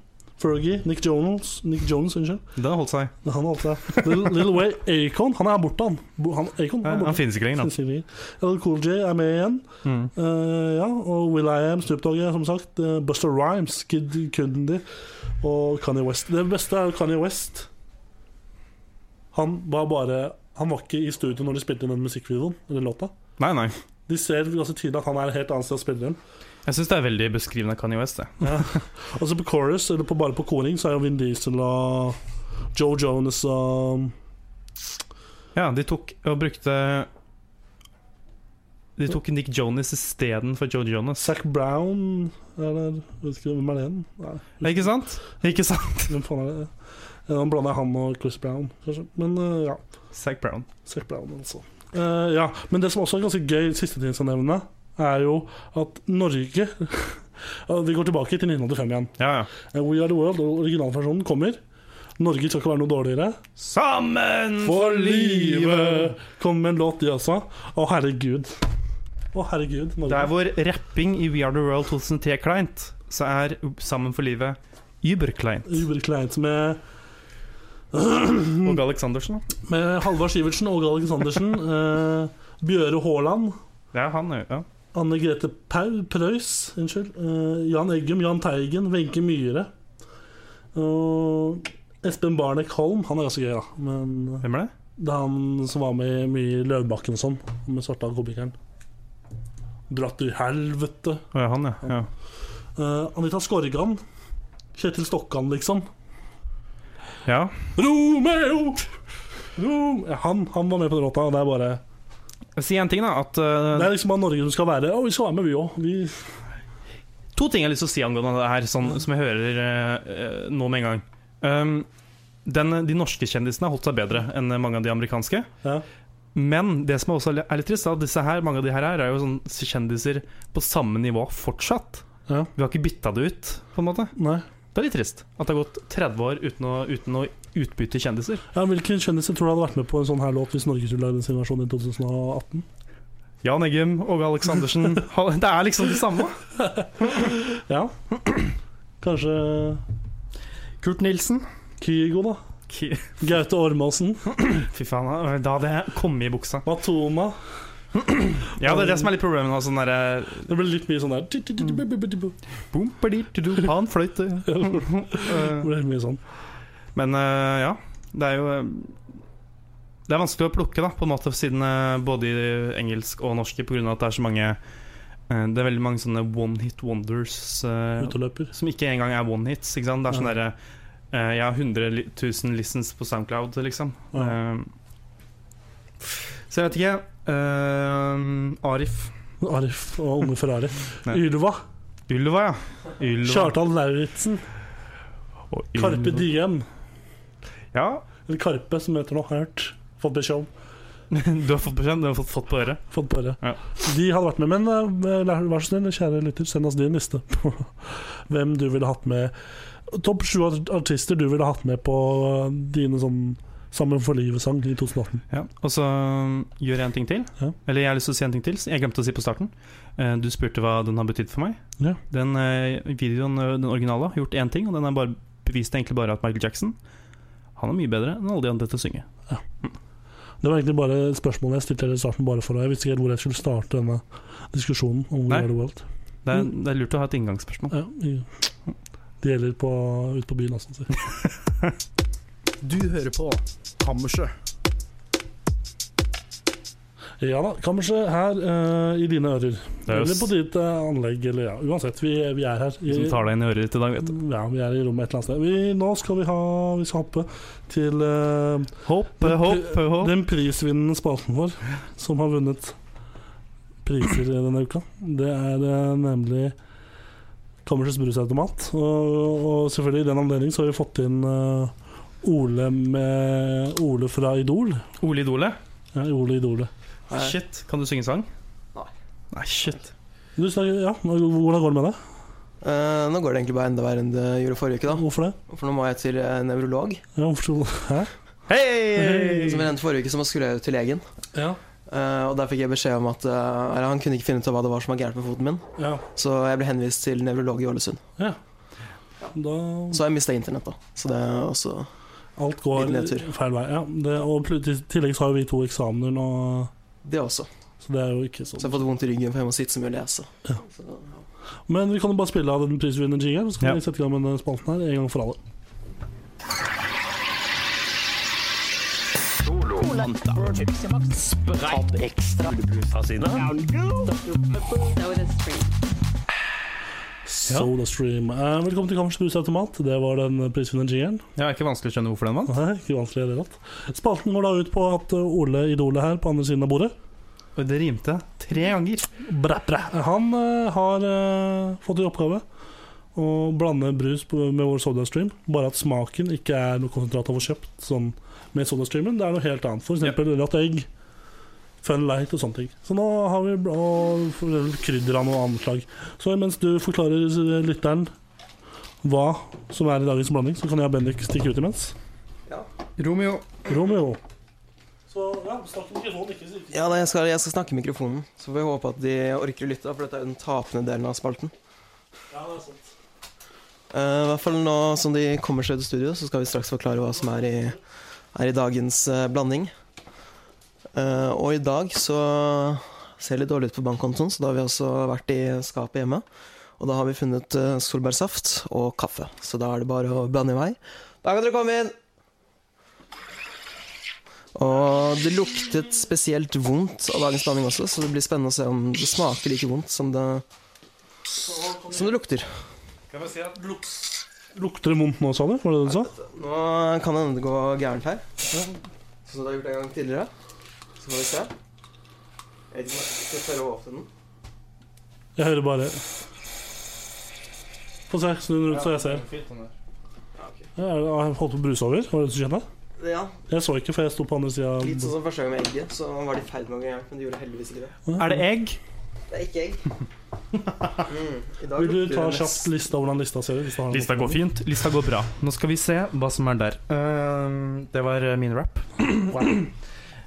Speaker 2: Fergie. Nick Jones. Nick Jones, unnskyld.
Speaker 3: Den holdt seg.
Speaker 2: Det er Han altså. Lil, Lil Way, Acon, han er borte, han. Bo- han Akon er
Speaker 3: Eh, Han,
Speaker 2: borte.
Speaker 3: finnes ikke lenger, han.
Speaker 2: L. Cool J er med igjen.
Speaker 3: Mm.
Speaker 2: Eh, ja, og Will I Am, Snoop Dogg, som sagt. eh, Buster Rhymes, Kid Cudi og Kanye West. Det beste er jo Kanye West. Han var bare Han var ikke i studio når de spilte inn den musikkvideoen. Eller låta
Speaker 3: Nei, nei.
Speaker 2: De ser ganske tydelig at han er et helt annet sted å spille den.
Speaker 3: Jeg syns det er veldig beskrivende av Kanye West, det.
Speaker 2: Og så på chorus, eller på, bare på koring, så er jo Vin Diesel og Joe Jonas og
Speaker 3: Ja, de tok og brukte De tok Nick Jonas istedenfor Joe Jonas.
Speaker 2: Zac Brown Eller vet ikke hvem er det igjen? Nei,
Speaker 3: Ikke sant? Ikke sant?
Speaker 2: hvem faen er det? Eh, Han blander han og Chris Brown, kanskje. Men eh, ja.
Speaker 3: Zac Brown.
Speaker 2: Zac Brown, altså. Eh, ja. Men det som også er ganske gøy, siste ting jeg skal nevne, er jo at Norge Ja, Vi går tilbake til 1985 igjen.
Speaker 3: Ja, ja.
Speaker 2: Eh, We Are The World, originalversjonen, kommer. Norge skal ikke være noe dårligere.
Speaker 3: Sammen
Speaker 2: For livet kom med en låt, de også. Å, herregud. Å, herregud. Norge.
Speaker 3: Der hvor rapping i We Are The World 2010 er kleint, så er Sammen for livet überkleint.
Speaker 2: Uberkleint med
Speaker 3: Og Aleksandersen, da.
Speaker 2: Med Halvard Sivertsen, Åge Aleksandersen, eh, Bjøre Haaland,
Speaker 3: Det er han, ja.
Speaker 2: Anne Grete Pau, Preus, unnskyld, eh, Jan Eggum, Jan Teigen, Wenche Myhre. Og Espen Barnek Holm, han er ganske gøy, da. Men
Speaker 3: Hvem er det?
Speaker 2: det er han som var med mye i Løvbakken og sånn, med svarta komikeren. Dratt til helvete.
Speaker 3: Å ja, han, ja. ja.
Speaker 2: Eh, Anita Skorgan. Kjetil Stokkan, liksom.
Speaker 3: ja.
Speaker 2: Romeo! Rom ja, han, han var med på den låta. og Det er bare
Speaker 3: Si en ting, da. At, eh,
Speaker 2: Det er liksom av Norge som skal være Å, vi skal være med, vi òg. Vi
Speaker 3: To ting jeg har lyst til å si angående det her, sånn, som jeg hører eh, eh, nå med en gang. Um, den, de norske kjendisene har holdt seg bedre enn mange av de amerikanske.
Speaker 2: Ja.
Speaker 3: Men det som også er litt trist, er at disse her, mange av de her er jo sånn kjendiser på samme nivå fortsatt.
Speaker 2: Ja.
Speaker 3: Vi har ikke bytta det ut, på en måte.
Speaker 2: Nei.
Speaker 3: Det er litt trist at det har gått 30 år uten å, uten å utbytte kjendiser.
Speaker 2: Ja, Hvilken kjendiser tror du hadde vært med på en sånn her låt hvis Norge skulle lagd en sin versjon i 2018?
Speaker 3: Jan Eggum, Åge Aleksandersen ha- Det er liksom det samme.
Speaker 2: Ja. Kanskje
Speaker 3: Kurt Nilsen.
Speaker 2: Kygo, da.
Speaker 3: Ki-
Speaker 2: Gaute Ormåsen.
Speaker 3: Fy faen, da hadde jeg kommet i buksa.
Speaker 2: Matoma.
Speaker 3: Ja, det er det som er litt problemet nå. Sånn derre
Speaker 2: Det ble litt mye sånn der
Speaker 3: Mm.
Speaker 2: Det
Speaker 3: Panfløyte.
Speaker 2: ble litt mye sånn.
Speaker 3: Men eh, ja, det er jo eh, Det er vanskelig å plukke, da, på en måte, siden eh, både i engelsk og norsk pga. at det er så mange eh, Det er veldig mange sånne one hit wonders eh,
Speaker 2: Uteløper.
Speaker 3: som ikke engang er one hits. Ikke sant? Det er sånn derre eh, Jeg har 100 li- 000 listens på Soundcloud, liksom.
Speaker 2: Ja.
Speaker 3: Eh, så jeg vet ikke. eh, Arif.
Speaker 2: Arif og unge Ferrari.
Speaker 3: Nei.
Speaker 2: Ylva.
Speaker 3: Ylva, ja. Ylva.
Speaker 2: Kjartan Lauritzen.
Speaker 3: Og Ylva.
Speaker 2: Karpe Diem.
Speaker 3: Ja,
Speaker 2: Eller Karpe, som heter noe. Har jeg hørt. Fått beskjed om.
Speaker 3: du har fått beskjed. Du har fått, fått på øret.
Speaker 2: Fått bare.
Speaker 3: Ja.
Speaker 2: De hadde vært med, men eh, vær så snill, kjære lytter, send oss din liste på hvem du ville hatt med. Topp sju art- artister du ville hatt med på eh, dine sånn Sammen for livet-sang i 2018.
Speaker 3: Ja, Og så um, gjør jeg en ting til.
Speaker 2: Ja.
Speaker 3: Eller jeg har lyst til å si en ting til. som Jeg glemte å si på starten. Eh, Du spurte hva den har betydd for meg.
Speaker 2: Ja.
Speaker 3: Den eh, videoen, eh, den originale, har gjort én ting, og den er bare, beviste egentlig bare at Michael Jackson Han er mye bedre enn alle de andre til å synge.
Speaker 2: Det var egentlig bare et spørsmål jeg stilte dere i starten, bare for å Jeg visste ikke helt hvor jeg skulle starte denne diskusjonen om Hvor
Speaker 3: Nei.
Speaker 2: er det world.
Speaker 3: Det er, det er lurt å ha et inngangsspørsmål.
Speaker 2: Ja, i- det gjelder på, ute på byen altså, også. så.
Speaker 4: Du hører på Kammerset.
Speaker 2: Ja da, kanskje her eh, i dine ører. Eller på
Speaker 3: Som
Speaker 2: ditt eh, anlegg, eller ja. Uansett, vi, vi er her. I,
Speaker 3: tar deg inn i øret ditt i dag, vet du.
Speaker 2: Mm, ja, vi er i rommet et eller annet sted. Vi, nå skal vi ha Vi skal hoppe til eh,
Speaker 3: Hoppe, hoppe, hoppe.
Speaker 2: den prisvinnende spalten vår, som har vunnet priser denne uka. Det er eh, nemlig Kammersets brusautomat. Og, og selvfølgelig i den anledning så har vi fått inn eh, Ole, med, Ole fra Idol.
Speaker 3: Ole Idole.
Speaker 2: Ja, Ole Idole.
Speaker 5: Nei.
Speaker 3: Shit. Kan du synge sang?
Speaker 5: Nei.
Speaker 3: Nei, shit.
Speaker 2: Du snakker, ja, hvordan går det med deg?
Speaker 5: Eh, nå går det egentlig bare enda verre enn det gjorde forrige uke, da.
Speaker 2: Hvorfor det?
Speaker 5: For nå må jeg til eh, nevrolog.
Speaker 2: Ja, hvorfor, hæ?
Speaker 3: Hei!
Speaker 5: Som jeg nevnte forrige uke, så skulle jeg jo til legen.
Speaker 2: Ja.
Speaker 5: Eh, og der fikk jeg beskjed om at eh, eller han kunne ikke finne ut av hva det var som var gærent med foten min.
Speaker 2: ja.
Speaker 5: Så jeg ble henvist til nevrolog i Ålesund.
Speaker 2: Da
Speaker 5: Så jeg mista internett, da. Så det er også
Speaker 2: alt går
Speaker 5: Litt nedtur.
Speaker 2: feil vei. Ja, det, og pl- i tillegg så har jo vi to eksamener nå,
Speaker 5: Det også.
Speaker 2: så det er jo ikke
Speaker 5: Så
Speaker 2: sånn.
Speaker 5: jeg har fått vondt i ryggen, for jeg må sitte så mye og lese.
Speaker 2: Men vi kan jo bare spille av den prisvinnende jingeren, så kan
Speaker 3: Ja.
Speaker 2: vi sette i gang med denne spalten her en gang for alle. SodaStream. Eh, velkommen til Kammers brusautomat. Det var den prisvinnende jingeren.
Speaker 3: Ja, ikke vanskelig å skjønne hvorfor den vant.
Speaker 2: Nei, ikke vanskelig i det hele tatt. Spalten går da ut på at eh, Ole Idole her på andre siden av bordet
Speaker 3: Og det rimte tre ganger.
Speaker 2: Bra, bra. Han eh, har eh, fått i oppgave å blande brus på, med vår SodaStream. Bare at smaken ikke er noe konsentrat av å kjøpt sånn, med SodaStreamen. Det er noe helt annet. For eksempel rødt egg, Fun Light og sånne ting. Så nå har vi bl- og for eksempel krydder av noe annet slag. Så mens du forklarer eh, lytteren hva som er i dagens blanding, så kan jeg og Bendik stikke ut imens.
Speaker 3: Romeo.
Speaker 2: Romeo. Så ja, snakk mikrofonen, ikke ikke-
Speaker 5: Ja, nei, jeg skal, jeg skal snakke i mikrofonen, så får vi håpe at de orker å lytte, da, for dette er jo den tapende delen av spalten.
Speaker 2: Ja, det er sånn. sant.
Speaker 5: Eh, I hvert fall nå som de kommer seg ut i studio, så skal vi straks forklare hva som er i, er i dagens eh, blanding. Eh, og i dag så ser det litt dårlig ut på bankkontoen, så da har vi også vært i skapet hjemme. Og da har vi funnet eh, solbærsaft og kaffe, så da er det bare å blande i vei. Da kan dere komme inn! Og det luktet spesielt vondt av dagens blanding også, så det blir spennende å se om det smaker like vondt som det, som det lukter.
Speaker 2: Lukter det vondt nå, sa du? Var det det du sa?
Speaker 5: Nå kan det hende det går gærent her. Sånn som det har gjort en gang tidligere. Så får vi se. Jeg vet ikke om jeg skal tørre å åpne den.
Speaker 2: Jeg hører bare Få se, snu den rundt så jeg ser. Ja, er det- har jeg holdt på å bruse over? Var det det du kjente?
Speaker 5: Ja,
Speaker 2: Jeg så ikke, for jeg sto på andre sida.
Speaker 5: litt sånn som første gang med egget, så var de i ferd med å gå gærent, men de gjorde heldigvis ikke det.
Speaker 3: Er det egg?
Speaker 5: Det er ikke egg. Mm, i dag
Speaker 2: Vil du
Speaker 5: lukter
Speaker 2: ta
Speaker 5: det mest-
Speaker 2: kjapt lista hvordan lista ser ut? hvis du har den?
Speaker 3: Lista går fint. Lista går bra. Nå skal vi se hva som er der. Ehm, det var eh, min rap.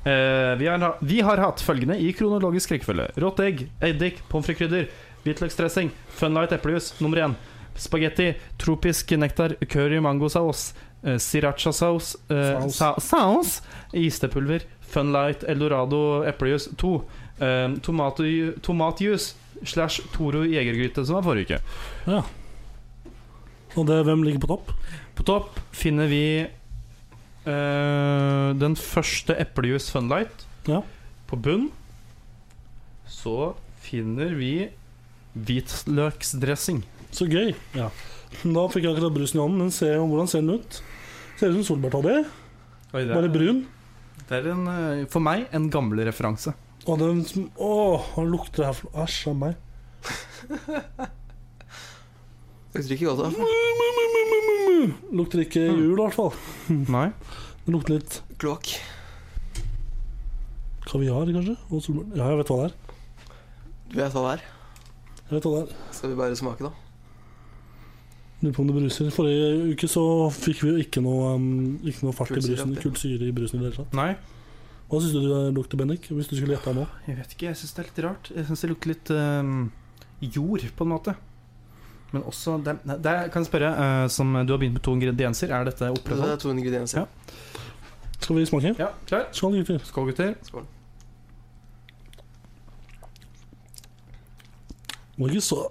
Speaker 3: Eh, vi, har, ha- vi har hatt følgende i kronologisk rekkefølge. Rått egg, eddik, pommes frites-krydder, hvitløksdressing, Funlight eplejus nummer én. Spagetti, tropisk nektar, curry mangosaus, eh, sriracha-saus eh,
Speaker 2: Saus.
Speaker 3: sa Saus! Istepulver, Funlight eldorado eplejus to. Eh, tomato- tomatjuice slash Toro jegergryte, som var forrige uke.
Speaker 2: Og det, hvem ligger på topp?
Speaker 3: På topp finner vi eh, den første eplejus Funlight.
Speaker 2: Ja.
Speaker 3: På bunn så finner vi hvitløksdressing.
Speaker 2: Så gøy. Ja. Da fikk jeg akkurat brusen i hånden, men se om- hvordan ser den ut? Ser ut som solbærtoddy,
Speaker 3: Oi, det,
Speaker 2: bare
Speaker 3: er,
Speaker 2: brun.
Speaker 3: det er en, eh, for meg en gammel referanse.
Speaker 2: Og den sm- Åh, han lukter her for- Æsj av meg.
Speaker 5: Lukter ikke godt, da.
Speaker 2: Lukter ikke jul, i hvert fall.
Speaker 3: Nei.
Speaker 2: Den lukter litt
Speaker 5: Kloakk.
Speaker 2: kaviar, kanskje? Og solbær. Ja, jeg vet hva det er.
Speaker 5: Du vet hva det er.
Speaker 2: Jeg vet hva det er.
Speaker 5: Skal vi bare smake, da?
Speaker 2: Lurer på om det bruser. Forrige uke så fikk vi jo ikke noe, um, ikke noe fart i
Speaker 5: Kullsyre
Speaker 2: brusen.
Speaker 5: oppi.
Speaker 2: Kullsyre i brusen i det hele tatt.
Speaker 3: Nei.
Speaker 2: Hva syns du det lukter, Bendik? Hvis du skulle gjette nå?
Speaker 3: Jeg vet ikke, jeg syns det er litt rart. Jeg syns det lukter litt eh, jord, på en måte. Men også det, nei, det Kan jeg spørre, eh, som du har begynt med to ingredienser, er dette
Speaker 5: Det
Speaker 2: sånn.
Speaker 3: opprettholdt?
Speaker 5: er to ingredienser.
Speaker 3: Ja.
Speaker 2: Skal vi smake?
Speaker 3: Ja, klar?
Speaker 2: Skål, gutter.
Speaker 3: Skål, gutter.
Speaker 2: Det var ikke så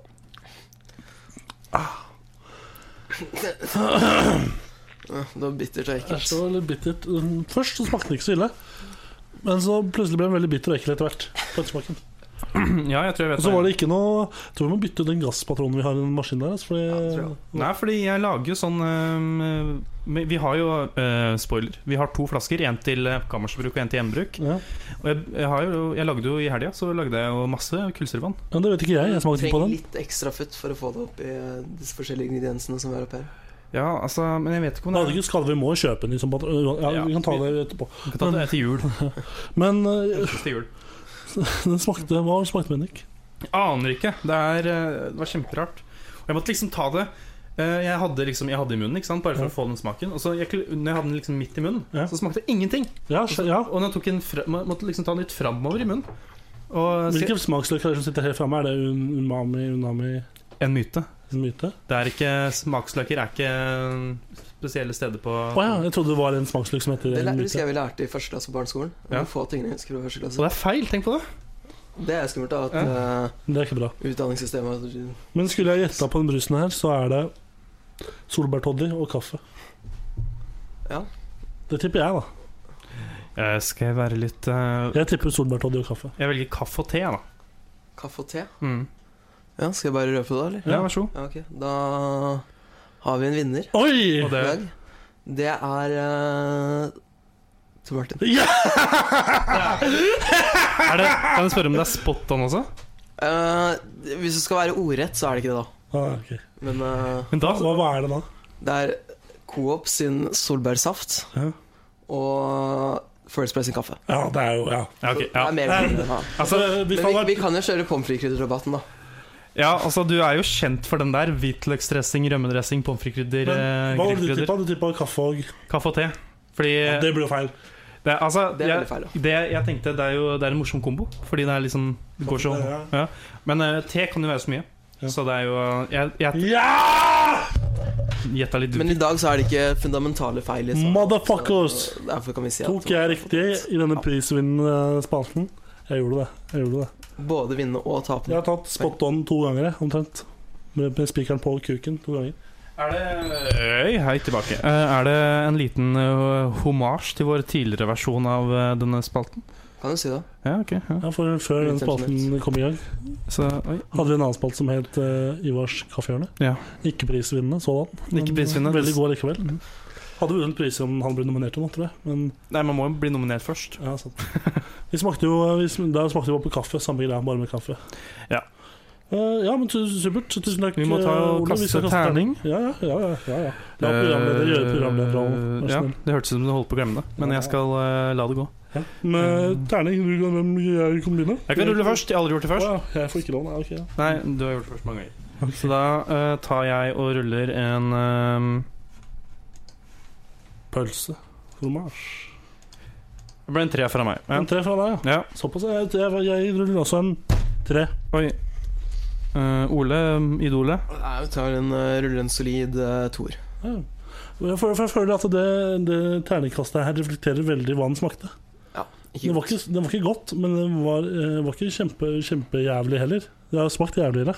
Speaker 5: Ja, Det var bittert og
Speaker 2: Æsj,
Speaker 5: ekkelt.
Speaker 2: det var litt bittert. Um, Først så smakte det ikke så ille. Men så plutselig ble den veldig bitter og ekkel etter hvert. på ettersmaken.
Speaker 3: Ja, jeg tror jeg vet
Speaker 2: Og så
Speaker 3: hva jeg-
Speaker 2: var det ikke noe Jeg tror vi må bytte ut den gasspatronen vi har i den maskinen der. Altså, fordi,
Speaker 5: det tror
Speaker 3: Nei, fordi jeg lager jo sånn øhm, men Vi har jo øh, spoiler. Vi har to flasker. Én til øh, kammersbruk og én til hjemmebruk.
Speaker 2: ja.
Speaker 3: Og jeg, jeg, har jo, jeg lagde jo i helga Så lagde jeg jo masse kullsyrevann.
Speaker 2: Men det vet ikke jeg. Jeg smakte ikke på
Speaker 5: Trenger
Speaker 2: den.
Speaker 5: litt ekstra futt for å få det opp i eh, disse forskjellige ingrediensene som er oppi her.
Speaker 3: Ja, altså, men jeg vet ikke om
Speaker 2: Det
Speaker 3: det
Speaker 2: hadde
Speaker 3: er
Speaker 2: ikke skadet. Vi må jo kjøpe en ny som patron. Ja,
Speaker 3: Ja,
Speaker 2: vi kan ta
Speaker 3: vi-
Speaker 2: det etterpå.
Speaker 3: Vi kan ta det til jul.
Speaker 2: Men uh,
Speaker 3: Til jul.
Speaker 2: den smakte Hva smakte Bendik?
Speaker 3: Aner ikke. Det, er, øh, det var kjemperart. Og jeg måtte liksom ta det øh, jeg hadde liksom, jeg hadde i munnen, ikke sant? bare for
Speaker 2: Ja.
Speaker 3: å få den smaken. Og så jeg, kl- når jeg hadde den liksom midt i munnen,
Speaker 2: Ja.
Speaker 3: så smakte det ingenting.
Speaker 2: Ja, skj- ja.
Speaker 3: Og når jeg tok den fra, må- måtte liksom ta den litt framover i munnen. Og
Speaker 2: Hvilke smaksløker er det som sitter helt framme? Er det un umami, unami,
Speaker 3: En myte.
Speaker 2: en myte?
Speaker 3: Det er ikke Smaksløker er ikke eh, spesielle steder på
Speaker 2: Å ja, jeg trodde det var en smaksløk som heter
Speaker 5: Det
Speaker 2: en
Speaker 5: lær- husker
Speaker 2: myte.
Speaker 5: jeg vi lærte i første klasse på barneskolen.
Speaker 3: Ja.
Speaker 5: Ja. Få tingene jeg husker fra første
Speaker 3: Så
Speaker 5: klasse.
Speaker 3: det er feil, tenk på det.
Speaker 5: Det er skummelt, da. At eh,
Speaker 2: Det er ikke bra.
Speaker 5: utdanningssystemet
Speaker 2: Men skulle jeg gjetta på den brusen her, så er det solbærtoddy og kaffe.
Speaker 5: Ja.
Speaker 2: Det tipper jeg, da.
Speaker 3: skal jeg være litt eh,
Speaker 2: Jeg tipper solbærtoddy og kaffe.
Speaker 3: Jeg velger kaffe og te, jeg, da.
Speaker 5: Kaffe og te.
Speaker 3: Mm.
Speaker 5: Ja, skal jeg bare røpe det, da, eller?
Speaker 3: Ja, vær så god.
Speaker 5: Ja, ok. Da har vi en vinner
Speaker 2: Oi!
Speaker 3: Og
Speaker 5: i
Speaker 3: det,
Speaker 5: dag. Det er eh, Tor Martin.
Speaker 2: Ja!
Speaker 3: er det Kan jeg spørre om det er spot on også?
Speaker 5: Eh, hvis du skal være ordrett, så er det ikke det, da.
Speaker 2: Ah, ok.
Speaker 5: Men eh,
Speaker 3: Men da
Speaker 2: hva, hva er det da?
Speaker 5: det er Coop sin solbærsaft
Speaker 2: Ja.
Speaker 5: og First Price sin kaffe.
Speaker 2: Ja, det er jo Ja.
Speaker 3: ja, ok,
Speaker 5: Det er
Speaker 3: ja.
Speaker 5: mer enn det. Ja.
Speaker 3: Altså,
Speaker 2: Eh, hvis
Speaker 5: Men
Speaker 2: han
Speaker 5: vi,
Speaker 2: var-
Speaker 5: vi kan jo kjøre pommes frites-rabatten, da.
Speaker 3: ja, altså, du er jo kjent for den der. Hvitløksdressing, rømmedressing, pommes frites-krydder, eh,
Speaker 2: Men
Speaker 3: Eh,
Speaker 2: hva var det du
Speaker 3: grillkrydder.
Speaker 2: tippa? Du tippa kaffe og
Speaker 3: Kaffe og te. Fordi
Speaker 2: Det blir jo feil.
Speaker 3: det, er- altså,
Speaker 5: Det er
Speaker 3: jeg-
Speaker 5: veldig feil, da.
Speaker 3: Det jeg tenkte, det er jo det er en morsom kombo. Fordi det er liksom Det går så
Speaker 2: Ja.
Speaker 3: ja. Men eh, te kan jo være så mye.
Speaker 2: Ja.
Speaker 3: Så det er jo eh, Jeg, jeg
Speaker 2: Ja!
Speaker 3: gjetta litt
Speaker 5: Men i dag så er det ikke fundamentale feil. i svaret.
Speaker 2: Motherfuckers!
Speaker 5: Så eh, Derfor kan vi si at
Speaker 2: Tok jeg riktig i denne prisvinnende spalten? Jeg gjorde det. Jeg gjorde det.
Speaker 5: både vinne og tape.
Speaker 2: Jeg har tatt spot on to ganger, jeg, omtrent. Med med spikeren på kuken to ganger.
Speaker 3: Er det Øy, hei tilbake. Eh, Er det en liten uh, homasj til vår tidligere versjon av eh, denne spalten?
Speaker 5: Kan du si det?
Speaker 3: Ja, ok. Ja.
Speaker 2: Ja, for Før den spalten kom i gang,
Speaker 3: Så, oi.
Speaker 2: hadde vi en annen spalt som het eh, Ivars kaffehjørne.
Speaker 3: Ja.
Speaker 2: Ikke prisvinnende sådan. men
Speaker 3: Ikke prisvinnende. Mm.
Speaker 2: Veldig god likevel. Hadde vunnet pris om han ble nominert til noe, tror jeg. Men
Speaker 3: Nei, man må jo bli nominert først.
Speaker 2: ja, sant. Vi smakte jo vi, sm- Der smakte vi bare på kaffe. Samme greia, bare med kaffe.
Speaker 3: Ja.
Speaker 2: Eh, ja, men tu- supert. Tusen takk.
Speaker 3: Vi må ta
Speaker 2: eh,
Speaker 3: og
Speaker 2: Ole. Vi skal
Speaker 3: kaste terning.
Speaker 2: Ja, ja. ja, ja, ja, ja. La programleder gjøre programlederrollen.
Speaker 3: Eh,
Speaker 2: Vær så
Speaker 3: Ja,
Speaker 2: snill.
Speaker 3: det hørtes ut som du holdt på å glemme det, men jeg skal eh, la det gå.
Speaker 2: Ja. Med terning, du kan, hvem jeg kan begynne?
Speaker 3: Eh. Jeg kan rulle først. Jeg har aldri gjort det
Speaker 2: Å
Speaker 3: først.
Speaker 2: ja, jeg får ikke lån. Ja, ok, ja.
Speaker 3: Nei, du har gjort det først mange ganger. Så da eh, tar jeg og ruller en eh,
Speaker 2: Pølse. Fromage.
Speaker 3: Det ble en tre fra meg.
Speaker 2: En
Speaker 3: Men,
Speaker 2: tre fra deg, ja.
Speaker 3: ja.
Speaker 2: Såpass. Jeg, jeg, jeg ruller også en tre.
Speaker 3: Oi. Eh, Ole, idolet.
Speaker 5: Nei, vi tar en, eh, ruller en solid uh, toer.
Speaker 2: Ja. For, for jeg føler at det, det terningkastet her reflekterer veldig hva den smakte.
Speaker 5: Ikke
Speaker 2: Det var
Speaker 5: godt.
Speaker 2: ikke, det var ikke godt, men det var, eh, var ikke kjempe, kjempejævlig heller. Det har smakt jævligere.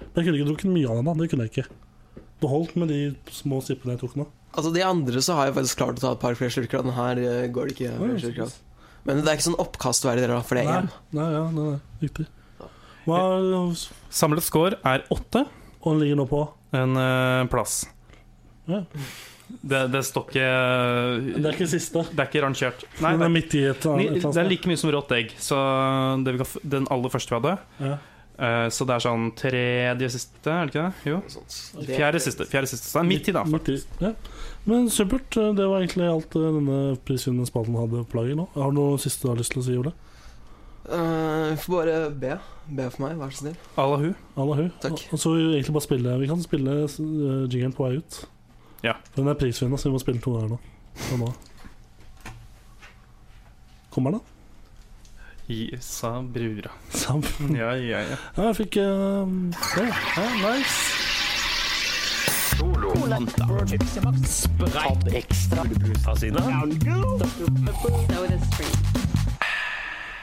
Speaker 2: Men jeg kunne ikke drukket mye av den. da, Det kunne jeg ikke. Det holdt med de små sippene jeg tok nå.
Speaker 5: Altså De andre så har jeg faktisk klart å ta et par flere slurker. av Den her eh, går det ikke flere slurker av. Men det er ikke sånn oppkast hver del, da, for det
Speaker 2: Nei,
Speaker 5: er én.
Speaker 2: nei, ja, nei, nei, riktig. Hva Og
Speaker 3: Samlet score er åtte.
Speaker 2: den ligger nå på?
Speaker 3: En eh, plass.
Speaker 2: Ja.
Speaker 3: Det, det står ikke
Speaker 2: Det er ikke siste.
Speaker 3: Det er ikke rangert. Nei,
Speaker 2: Den
Speaker 3: det,
Speaker 2: er midt i et
Speaker 3: er,
Speaker 2: annet.
Speaker 3: det er like mye som rått egg. Så det vi kan, f- den aller første vi
Speaker 2: Ja.
Speaker 3: hadde eh, Så det er sånn tredje siste, er det ikke det? Jo.
Speaker 5: Sånn, Det-
Speaker 3: Fjerde siste. Fjerde siste. Så det er midt i, da.
Speaker 2: Midt i, ja. Men supert. Det var egentlig alt eh, denne prisvinnende spalten hadde på lager nå. Har du noe siste du har lyst til å si, Ole?
Speaker 5: Eh, vi får bare be. Be for meg, vær så snill.
Speaker 3: Allahu.
Speaker 2: Allahu.
Speaker 5: Takk.
Speaker 2: Og så vil vi egentlig bare spille Vi kan spille eh, jinglen på vei ut.
Speaker 3: Ja.
Speaker 2: For den er prisvinnende, så vi må spille to ganger nå. Fra nå. av. Kommer den, da?
Speaker 3: Isa brura.
Speaker 2: Sam.
Speaker 3: Ja, ja, ja.
Speaker 2: Ja, jeg fikk eh, ja, ja, Nice.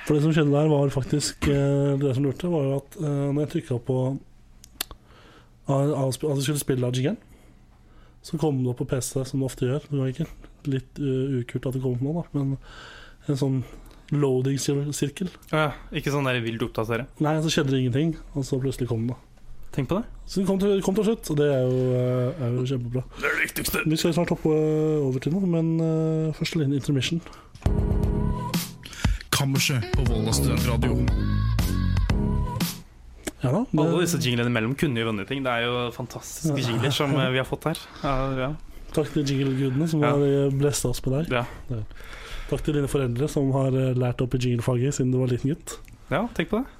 Speaker 2: For det som skjedde der, var faktisk eh, Det som lurte, var jo at eh, når jeg trykka på av- av- At jeg skulle spille av jingeren, så kom det opp på PC, som det ofte gjør. Det var ikke litt eh, ukult at det kom opp nå, da, men en sånn loading-sirkel.
Speaker 3: Ja, ikke sånn der vilt oppdatere.
Speaker 2: Nei, så skjedde det ingenting, og så plutselig kom den. da
Speaker 3: Tenk på det.
Speaker 2: Så den kom til, kom til slutt, og det er jo, eh, er jo kjempebra. Det er det viktigste Vi skal snart hoppe over til noe, men eh, først litt intermission.
Speaker 1: Kammerset på Volda studentradio.
Speaker 2: Ja da, det,
Speaker 3: Alle disse jinglene imellom kunne jo vunnet ting. Det er jo fantastiske jingler som eh, vi har fått her. Ja, ja.
Speaker 2: Takk til jingle-gudene som
Speaker 3: Ja.
Speaker 2: har eh, blesta oss på deg.
Speaker 3: Ja.
Speaker 2: Det. Takk til dine foreldre som har eh, lært opp i jingle-faget siden du var liten gutt.
Speaker 3: ja, tenk på det.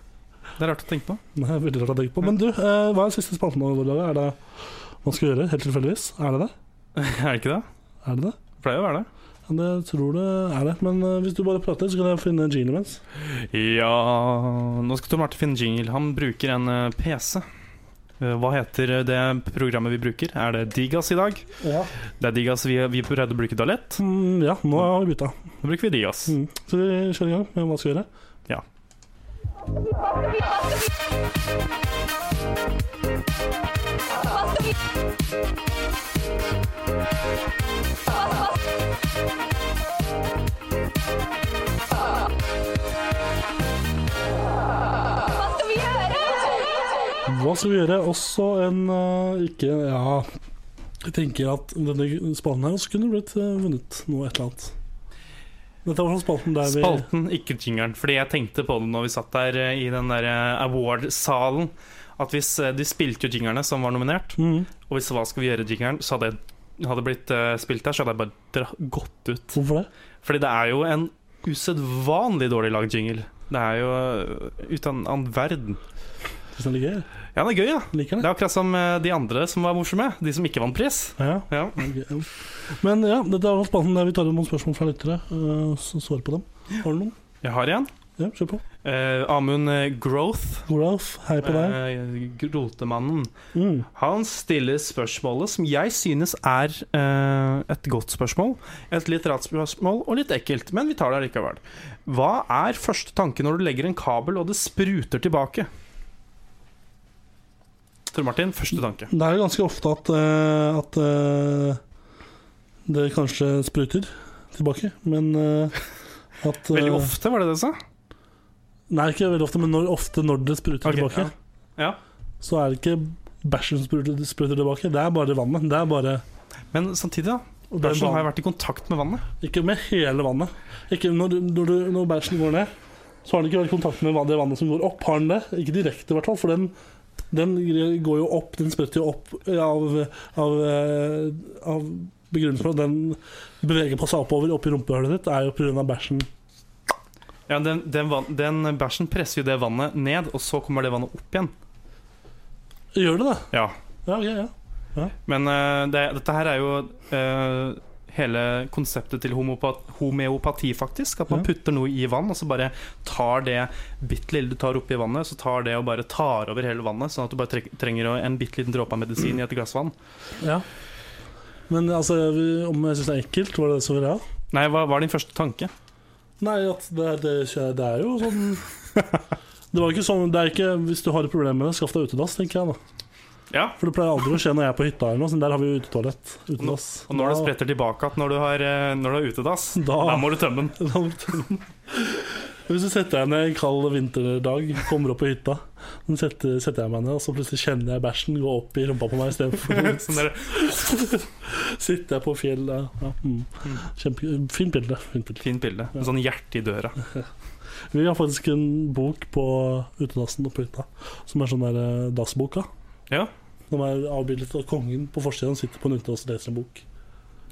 Speaker 3: Det er rart å tenke på.
Speaker 2: Det er veldig rart å tenke på. Men du, eh, hva er siste spalten vår? Olav? Er det man skal gjøre, helt tilfeldigvis? Er det det?
Speaker 3: er det ikke det?
Speaker 2: Er det det?
Speaker 3: Pleier å være det.
Speaker 2: Ja, det tror det er det. Men eh, hvis du bare prater, så kan jeg finne en jingle imens.
Speaker 3: Ja Nå skal Tor Marte finne jingle. Han bruker en eh, PC. Eh, Hva heter det programmet vi bruker? Er det Digas i dag?
Speaker 2: Ja.
Speaker 3: Det er Digas vi, vi pleide å bruke Dalett.
Speaker 2: Mm, ja, nå har vi bytta.
Speaker 3: Nå bruker vi Digas.
Speaker 2: Mm. Så vi kjører i gang med hva man skal gjøre.
Speaker 3: Ja.
Speaker 2: Hva skal vi gjøre? Også en eh, ikke Ja. Jeg tenker at denne spalten her også kunne blitt eh, vunnet noe et eller annet. Dette var sånn spalten der vi
Speaker 3: Spalten, ikke jingeren. Fordi jeg tenkte på det når vi satt der eh, i den der eh, award-salen. At hvis eh, de spilte jo jingerne som var nominert,
Speaker 2: Mhm.
Speaker 3: og hvis Hva skal vi gjøre? jingeren, så hadde jeg hadde blitt eh, spilt der, så hadde jeg bare dra gått ut.
Speaker 2: Hvorfor det?
Speaker 3: Fordi det er jo en usedvanlig dårlig lagd jingle. Det er jo øh, uten annen verden.
Speaker 2: Hvis den ligger her.
Speaker 3: Ja, det er gøy, ja.
Speaker 2: Liker
Speaker 3: Det
Speaker 2: den.
Speaker 3: er akkurat som øh, de andre som var morsomme. De som ikke vant pris.
Speaker 2: Ja.
Speaker 3: Ja.
Speaker 2: ok. Men ja, dette er spalten der vi tar noen spørsmål fra lyttere. eh, så svarer på dem. Har du noen?
Speaker 3: Jeg har en.
Speaker 2: Ja, kjør på.
Speaker 3: Eh, Amund eh, Growth,
Speaker 2: Olaf, hei på deg.
Speaker 3: eh, grotemannen,
Speaker 2: Mm.
Speaker 3: han stiller spørsmålet som jeg synes er eh, et godt spørsmål. Et litt rart spørsmål og litt ekkelt, men vi tar det likevel. Hva er første tanke når du legger en kabel og det spruter tilbake? Tor Martin, første tanke.
Speaker 2: Det er jo ganske ofte at, eh, at eh, det kanskje spruter tilbake, men eh, at eh,
Speaker 3: Veldig ofte, var det det du sa?
Speaker 2: Nei, ikke veldig ofte, men når, ofte når det spruter
Speaker 3: Ok,
Speaker 2: tilbake,
Speaker 3: Ja.
Speaker 2: så er det ikke bæsjen som spruter, spruter tilbake, det er bare vannet. Det er bare
Speaker 3: ja. Men samtidig, da.
Speaker 2: og det er
Speaker 3: Bæsjen har
Speaker 2: vann.
Speaker 3: jo vært i kontakt med vannet.
Speaker 2: Ikke med hele vannet. Ikke når, du- når, du- når bæsjen går ned, så har den ikke vært i kontakt med vann- det vannet som går opp. Har den det? Ikke direkte, i hvert fall, for den, den går jo opp. Den spretter jo opp av, av, eh, av begrunnelsen for at den beveger på seg oppover opp i rumpehullet ditt, er jo pga. bæsjen.
Speaker 3: Ja, den, den, vann- den bæsjen presser jo det vannet ned, og så kommer det vannet opp igjen.
Speaker 2: Gjør det det?
Speaker 3: Ja.
Speaker 2: Ja, ok, ja.
Speaker 3: Men eh, det, dette her er jo eh, hele konseptet til homopat- homeopati, faktisk. At man
Speaker 2: Ja.
Speaker 3: putter noe i vann, og så bare tar det bitte lille du tar oppi vannet, så tar det og bare tar over hele vannet, sånn at du bare trek- trenger å- en bitte liten dråpe av medisin i et glass vann.
Speaker 2: ja. Men altså, vi- om jeg syns det er ekkelt, var det det som var greia?
Speaker 3: Nei, hva var din første tanke?
Speaker 2: Nei, at det, det, det er jo sånn Det var ikke sånn det er ikke, Hvis du har et problem med det, skaff deg utedass, tenker jeg da.
Speaker 3: Ja.
Speaker 2: For det pleier aldri å skje når jeg er på hytta eller noe, sånn der har vi jo utetoalett. Utedass.
Speaker 3: Og når det
Speaker 2: Da-
Speaker 3: spretter tilbake at når du har, eh, når du har utedass, da.
Speaker 2: Da-
Speaker 3: må du tømme den.
Speaker 2: da må du tømme den. Hvis du setter deg ned en kald vinterdag, kommer opp på hytta, så setter, setter jeg meg ned, og så plutselig kjenner jeg bæsjen gå opp i rumpa på meg istedenfor ut.
Speaker 3: Sånn der,
Speaker 2: Sitter jeg på fjellet. Ja, mm. Kjempe, fint bilde. Fint bilde.
Speaker 3: fint bilde. En sånn hjerte i døra.
Speaker 2: Vi har faktisk en bok på utedassen oppe på hytta som er sånn der eh, dassboka.
Speaker 3: Ja.
Speaker 2: Som er avbildet av kongen på forsiden sitter på en utedass og leser en bok.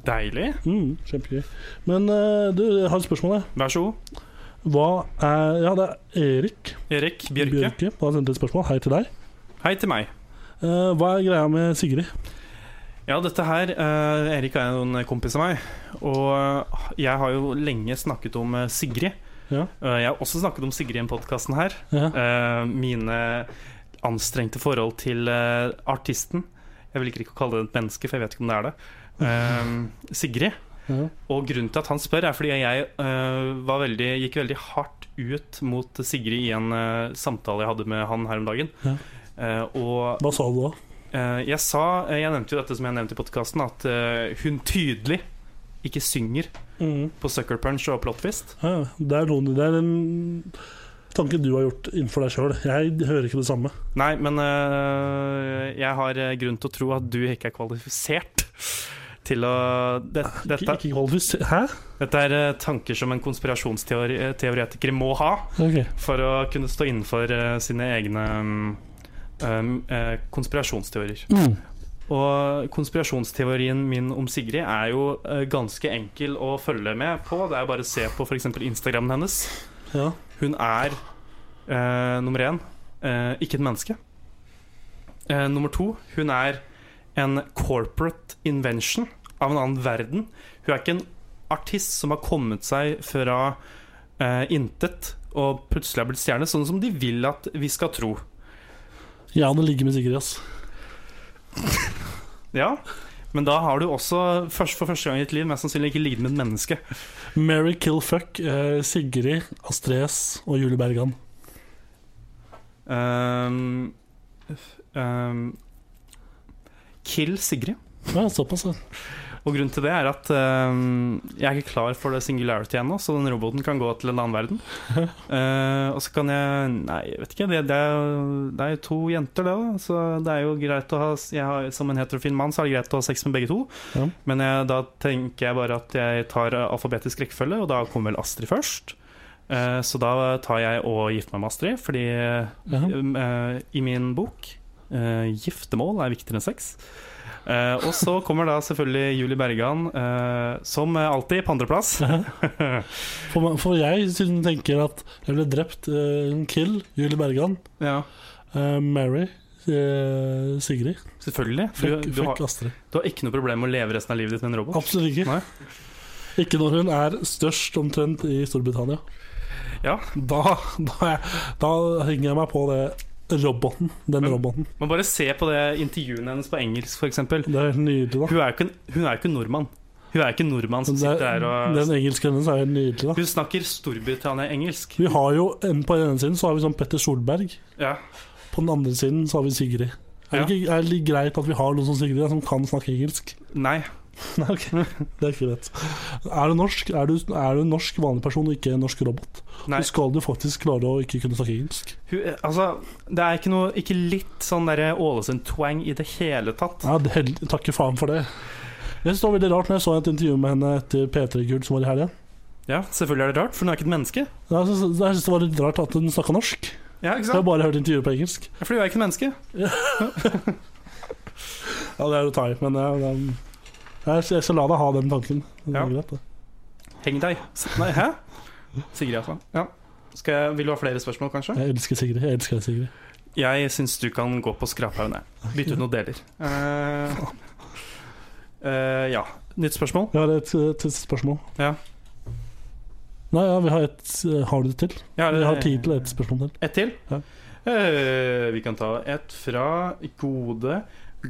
Speaker 3: Deilig.
Speaker 2: Mm, Kjempegøy. Men eh, du, jeg har et spørsmål, jeg.
Speaker 3: Vær så god.
Speaker 2: Hva er Ja, det er Erik
Speaker 3: Erik Bjørke.
Speaker 2: Han har sendt et spørsmål. Hei til deg.
Speaker 3: Hei til meg.
Speaker 2: Eh, hva er greia med Sigrid?
Speaker 3: Ja, dette her eh, Erik er jo en kompis av meg. Og eh, jeg har jo lenge snakket om eh, Sigrid.
Speaker 2: Ja.
Speaker 3: Eh, jeg har også snakket om Sigrid i den podkasten her.
Speaker 2: Ja.
Speaker 3: Eh, mine anstrengte forhold til eh, artisten. Jeg vil ikke kalle det et menneske, for jeg vet ikke om det er det. Eh, Sigrid.
Speaker 2: Ja.
Speaker 3: Og grunnen til at han spør, er fordi jeg eh, var veldig, gikk veldig hardt ut mot Sigrid i en eh, samtale jeg hadde med han her om dagen.
Speaker 2: Ja.
Speaker 3: Eh, og
Speaker 2: Hva sa du da?
Speaker 3: Eh, jeg sa, eh, jeg nevnte jo dette som jeg nevnte i podkasten, at eh, hun tydelig ikke synger
Speaker 2: Mm.
Speaker 3: på Sucker Punch og Plotfist.
Speaker 2: Ja, ja. det er noen Det er en tanke du har gjort innenfor deg sjøl. Jeg hører ikke det samme.
Speaker 3: Nei, men eh, jeg har eh, grunn til å tro at du ikke er kvalifisert til å det,
Speaker 2: Ikke,
Speaker 3: dette,
Speaker 2: Ah, ikke kvalifis- Hæ?
Speaker 3: dette er eh, tanker som en konspirasjonsteoretiker må ha
Speaker 2: Ok.
Speaker 3: for å kunne stå innenfor eh, sine egne mm, um, eh, konspirasjonsteorier. Og konspirasjonsteorien min om Sigrid er jo eh, ganske enkel å følge med på. Det er bare å se på f.eks. Instagramen hennes.
Speaker 2: Ja.
Speaker 3: Hun er eh, nummer én eh, ikke et menneske. Eh, nummer to hun er en corporate invention av en annen verden. Hun er ikke en artist som har kommet seg fra eh, intet og plutselig har blitt stjerne, sånn som de vil at vi skal tro.
Speaker 2: Ja, det ligger med Sigrid, ass.
Speaker 3: Ja, men da har du også først, for første gang i ditt liv mest sannsynlig ikke ligget med et menneske.
Speaker 2: Mary Kill Fuck, eh, Sigrid, Astrid S og Julie Bergan.
Speaker 3: Ehm, ehm, kill Sigrid.
Speaker 2: Ja, såpass, ja.
Speaker 3: Og grunnen til det er at ehm, jeg er ikke klar for det singularity ennå, så den roboten kan gå til en annen verden. Eh, og så kan jeg Nei, jeg vet ikke. Det, det, er, jo- det er jo to jenter, det, da. Så det er jo greit å ha jeg har, Som en heterofil mann så er det greit å ha sex med begge to.
Speaker 2: Ja.
Speaker 3: Men jeg, da tenker jeg bare at jeg tar eh, alfabetisk rekkefølge, og da kommer vel Astrid først. Eh, så da tar jeg og gifter meg med Astrid, fordi
Speaker 2: Ja.
Speaker 3: eh, i min bok eh, giftermål er viktigere enn sex. Eh, og så kommer da selvfølgelig Julie Bergan, eh, som alltid, på andreplass.
Speaker 2: For, meg- for jeg siden tenker at jeg ble drept eh, Kill, Julie Bergan,
Speaker 3: ja.
Speaker 2: eh, Mary, eh, Sigrid.
Speaker 3: Selvfølgelig. Du,
Speaker 2: Fuck,
Speaker 3: du, har,
Speaker 2: fuck Astrid.
Speaker 3: du har ikke noe problem med å leve resten av livet ditt med en robot.
Speaker 2: Absolutt ikke.
Speaker 3: Nei.
Speaker 2: Ikke når hun er størst omtrent i Storbritannia.
Speaker 3: Ja.
Speaker 2: Da, da, er- da henger jeg meg på det roboten. Den
Speaker 3: Men-
Speaker 2: roboten.
Speaker 3: Men bare se på det intervjuet hennes på engelsk, f.eks. Hun
Speaker 2: Det er helt nydelig, da.
Speaker 3: er jo ikke, en- hun er jo ikke nordmann. Hun er ikke nordmann som
Speaker 2: Det er-
Speaker 3: sitter her og
Speaker 2: Den engelske hennes er helt nydelig, da.
Speaker 3: Hun snakker Storbritannia-engelsk.
Speaker 2: Vi har jo en, På den ene siden så har vi sånn Petter Solberg.
Speaker 3: Ja.
Speaker 2: På den andre siden så har vi Sigrid. Er det ikke er det greit at vi har noen som Sigrid som kan snakke engelsk?
Speaker 3: Nei.
Speaker 2: Nei, ok, det er ikke greit. Er du norsk, er du, er du en norsk vanlig person og ikke en norsk robot,
Speaker 3: Nei.
Speaker 2: så skal du faktisk klare å ikke kunne snakke engelsk.
Speaker 3: Hun, altså, det er ikke noe Ikke litt sånn derre Ålesund-twang i det hele tatt.
Speaker 2: Ja, det, hell- takker faen for det. Jeg synes det var veldig rart når jeg så et intervju med henne etter P3-gull som var i helga.
Speaker 3: Ja, selvfølgelig er det rart, for hun er ikke et menneske.
Speaker 2: Jeg synes jeg synes det var litt rart at hun snakka norsk.
Speaker 3: Ja, ikke
Speaker 2: Jeg har
Speaker 3: sant?
Speaker 2: bare hørt intervjuet på engelsk.
Speaker 3: For hun er ikke et menneske.
Speaker 2: Ja, det er å ta i, men jeg, jeg, jeg, jeg skal la deg ha den tanken. Det er
Speaker 3: Ja.
Speaker 2: greit, det.
Speaker 3: Heng deg. S- Nei, hæ? Sigrid, altså. Ja. Skal jeg, vil du ha flere spørsmål, kanskje?
Speaker 2: Jeg elsker Sigrid. Jeg elsker deg, Sigrid.
Speaker 3: Jeg syns du kan gå på skraphaugen. jeg. Bytte ut noen deler. Eh, eh, ja. Nytt spørsmål.
Speaker 2: Jeg har et, et siste spørsmål.
Speaker 3: Ja.
Speaker 2: Nei, ja, vi har et eh, Har du det til?
Speaker 3: Ja,
Speaker 2: Vi har
Speaker 3: eh,
Speaker 2: tid til et spørsmål til.
Speaker 3: Ett til?
Speaker 2: Ja.
Speaker 3: Eh, vi kan ta et fra gode,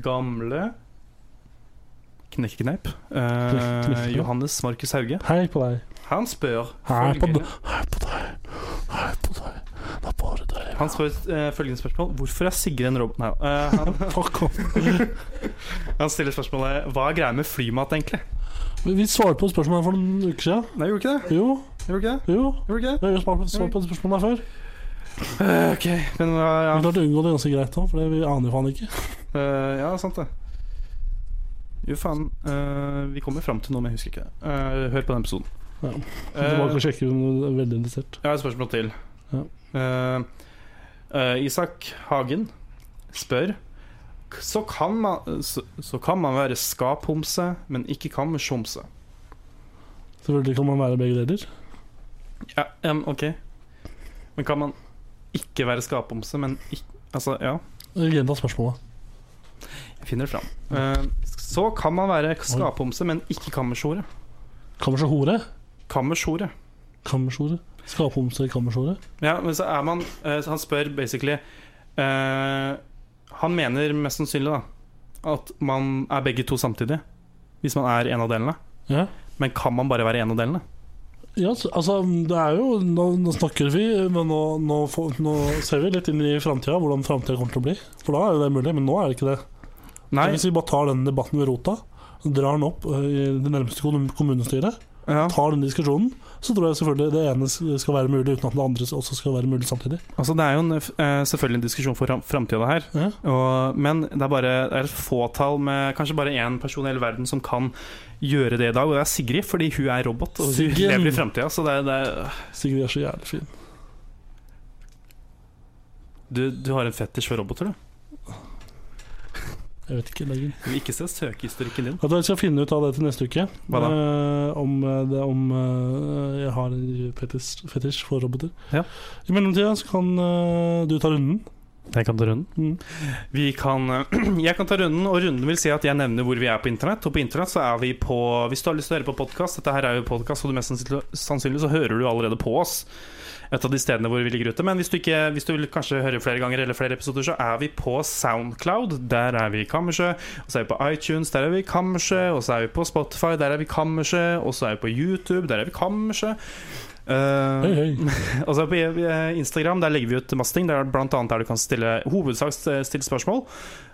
Speaker 3: gamle Knekkekneip. Eh,
Speaker 2: Knekkekneip.
Speaker 3: Johannes Markus Hauge.
Speaker 2: Hei på deg.
Speaker 3: Han spør
Speaker 2: Hei på,
Speaker 3: følgende,
Speaker 2: d- hei på deg. Hei på deg. Det er bare deg.
Speaker 3: han spør eh, følgende spørsmål Hvorfor er Sigrid en robot? Nei, eh, han,
Speaker 2: Fuck off.
Speaker 3: han stiller spørsmålet Hva er greia med flymat, egentlig?
Speaker 2: Vi vi svarte på spørsmålet for noen uker siden.
Speaker 3: Nei, gjorde ikke det?
Speaker 2: Jo,
Speaker 3: Gjorde ikke det?
Speaker 2: jo.
Speaker 3: Gjorde ikke det?
Speaker 2: Vi har jo svart på, svart på det spørsmålet her før.
Speaker 3: Eh, ok, men eh,
Speaker 2: Vi
Speaker 3: ja.
Speaker 2: klarte å unngå det ganske greit nå, for det- vi aner jo faen ikke.
Speaker 3: Eh, ja, sant det. Jo, faen. eh, vi kommer fram til noe, men jeg husker ikke det. Eh, hør på den episoden.
Speaker 2: Ja.
Speaker 3: Eh,
Speaker 2: Tilbake og sjekke om du er veldig interessert.
Speaker 3: Jeg har et spørsmål til.
Speaker 2: Ja.
Speaker 3: Eh, eh, Isak Hagen spør "K- så kan, man, så, så kan man være skaphomse, men ikke kammershomse.
Speaker 2: Selvfølgelig kan man være begge deler.
Speaker 3: Ja, em, OK. Men kan man ikke være skaphomse, men ikke Altså, ja.
Speaker 2: Gjenta spørsmålet.
Speaker 3: Jeg finner det fram. Eh, så kan man være skaphomse, men ikke kammershore.
Speaker 2: Kammershore?
Speaker 3: Kammershore.
Speaker 2: Kammershore? Skaphomse kammershore?
Speaker 3: Ja, men så er man eh, så Han spør basically eh, Han mener mest sannsynlig da at man er begge to samtidig. Hvis man er en av delene.
Speaker 2: Ja.
Speaker 3: Men kan man bare være en av delene?
Speaker 2: Ja, så- altså, det er jo Nå, nå snakker vi, men nå, nå, får- nå ser vi litt inn i framtida, hvordan framtida kommer til å bli. For da er jo det mulig, men nå er det ikke det.
Speaker 3: Nei.
Speaker 2: Hvis vi bare tar den debatten ved rota, drar den opp eh, i det nærmeste kom- kommunestyret,
Speaker 3: Ja.
Speaker 2: tar den diskusjonen, så tror jeg selvfølgelig det ene s- skal være mulig uten at det andre også skal være mulig samtidig.
Speaker 3: Altså, det er jo en, eh, selvfølgelig en diskusjon for framtida her.
Speaker 2: Ja.
Speaker 3: Og, men det er bare det er et fåtall med kanskje bare én person i hele verden som kan gjøre det i dag. Og det er Sigrid, fordi hun er robot og hun
Speaker 2: Siggen.
Speaker 3: lever i framtida. Så det, er- det er
Speaker 2: Sigrid er så jævlig fin.
Speaker 3: du, du har en fetisj for roboter, du.
Speaker 2: Jeg vet ikke lenger.
Speaker 3: Du vil ikke se søkehistorikken din.
Speaker 2: Vet du hva, Jeg skal finne ut av det til neste uke.
Speaker 3: Hva da?
Speaker 2: Eh, om eh, det, om eh, jeg har en fetisj, fetisj for roboter.
Speaker 3: Ja.
Speaker 2: I mellomtida så kan eh, du ta runden.
Speaker 3: Jeg kan ta runden.
Speaker 2: Mm.
Speaker 3: Vi kan, jeg kan ta runden, og runden vil si at jeg nevner hvor vi er på internett. Og på internett så er vi på Hvis du har lyst til å høre på podkast, dette her er jo podkast, og du mest sannsynlig- sannsynlig så hører du allerede på oss. Et av de stedene hvor vi ligger ute. Men hvis du, ikke, hvis du vil kanskje høre flere ganger eller flere episoder, så er vi på Soundcloud. Der er vi i Kammerset. Og så er vi på iTunes, der er vi i Kammerset. Og så er vi på Spotify, der er vi i Kammerset. Og så er vi på YouTube, der er vi i Kammerset. Eh,
Speaker 2: Hei, hei.
Speaker 3: og så på eh, Instagram der legger vi ut masse ting. Der er det blant annet der du kan stille hovedsak stille spørsmål.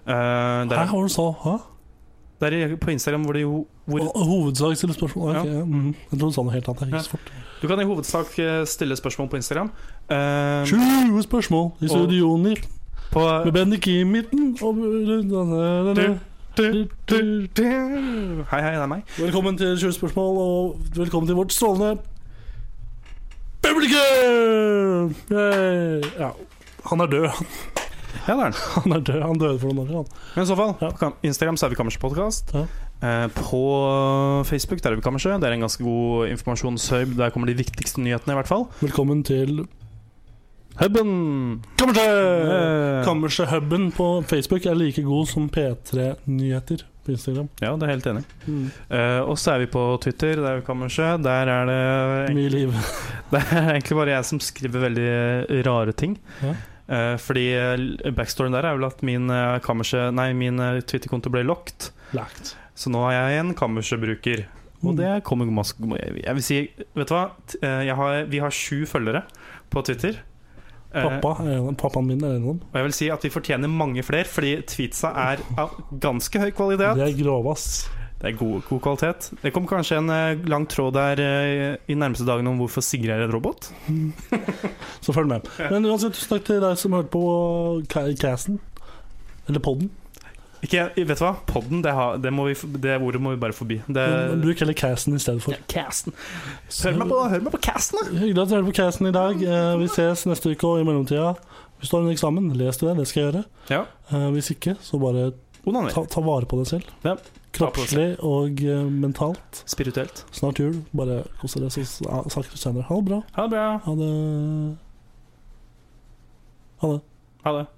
Speaker 3: Eh,
Speaker 2: Hæ,
Speaker 3: der,
Speaker 2: hva var det du sa? Hæ?
Speaker 3: der er på Instagram hvor, det jo, hvor
Speaker 2: Ho- Hovedsak stiller spørsmål. Ok, ja. mhm. Jeg tror du sa noe helt annet. Jeg gikk så fort.
Speaker 3: Du kan i hovedsak eh, stille spørsmål på Instagram. Eh,
Speaker 2: 20 spørsmål i studioner
Speaker 3: på
Speaker 2: med Bendik i midten og
Speaker 3: Hei, hei, det er meg.
Speaker 2: Velkommen til 20 spørsmål, og velkommen til vårt strålende publikum! Yay! Ja. Han er død.
Speaker 3: Ja, det er den.
Speaker 2: Han er død, han døde for noen år siden.
Speaker 3: Men i så fall,
Speaker 2: Ja.
Speaker 3: på Kam- Instagram så er vi Kammerset-podkast.
Speaker 2: Ja.
Speaker 3: Eh, på Facebook der er vi Kammerset. Det er en ganske god informasjonshub. Der kommer de viktigste nyhetene, i hvert fall.
Speaker 2: Velkommen til Mm.
Speaker 3: Hubben!
Speaker 2: Kammerset!
Speaker 3: Eh,
Speaker 2: Kammerset-huben på Facebook er like god som P3 Nyheter på Instagram.
Speaker 3: Ja, det er jeg helt enig.
Speaker 2: Mm.
Speaker 3: Eh, og så er vi på Twitter, der vi kommer seg. Der er det,
Speaker 2: Mye liv.
Speaker 3: det er egentlig bare jeg som skriver veldig rare ting.
Speaker 2: Ja.
Speaker 3: Eh, fordi eh, backstoryen der er vel at min, eh, kammerset- nei, min eh, Twitter-konto ble locked.
Speaker 2: Lagt.
Speaker 3: Så nå er jeg en kammerset-bruker. Og
Speaker 2: Mm.
Speaker 3: det kommer masse Jeg vil si, vet du hva? T- eh, Jeg har, vi har sju følgere på Twitter. Eh,
Speaker 2: Pappa, er en- pappaen min er en av dem.
Speaker 3: og jeg vil si at vi fortjener mange flere, fordi tweetsa er av ganske høy kvalitet.
Speaker 2: Det er grove, ass.
Speaker 3: Det er god, god kvalitet. Det kom kanskje en eh, lang tråd der eh, i nærmeste dagene om hvorfor Sigrid er en robot.
Speaker 2: Så følg med. Men uansett, tusen takk til deg som hørte på eh, ca- casten. Eller podden.
Speaker 3: Ikke, vet du hva? Podden, det, har, det, må vi, f- det ordet må vi bare forbi. Det,
Speaker 2: Men Bruk heller casten i stedet for.
Speaker 3: Eh. casten. Hør meg på, hør meg på casten, da!
Speaker 2: Hyggelig at du hører på casten i dag. Eh, Vi ses neste uke, og i mellomtida Hvis du har en eksamen, les til det. Det skal jeg gjøre.
Speaker 3: Ja.
Speaker 2: Eh, Hvis ikke, så bare
Speaker 3: Onaner.
Speaker 2: ta, ta vare på deg selv.
Speaker 3: Ja.
Speaker 2: Kroppslig og eh, mentalt.
Speaker 3: Spirituelt.
Speaker 2: Snart jul. Bare kos dere, så s- snakkes vi senere. Ha det bra.
Speaker 3: Ha det bra.
Speaker 2: Ha det. Ha det.
Speaker 3: Ha det.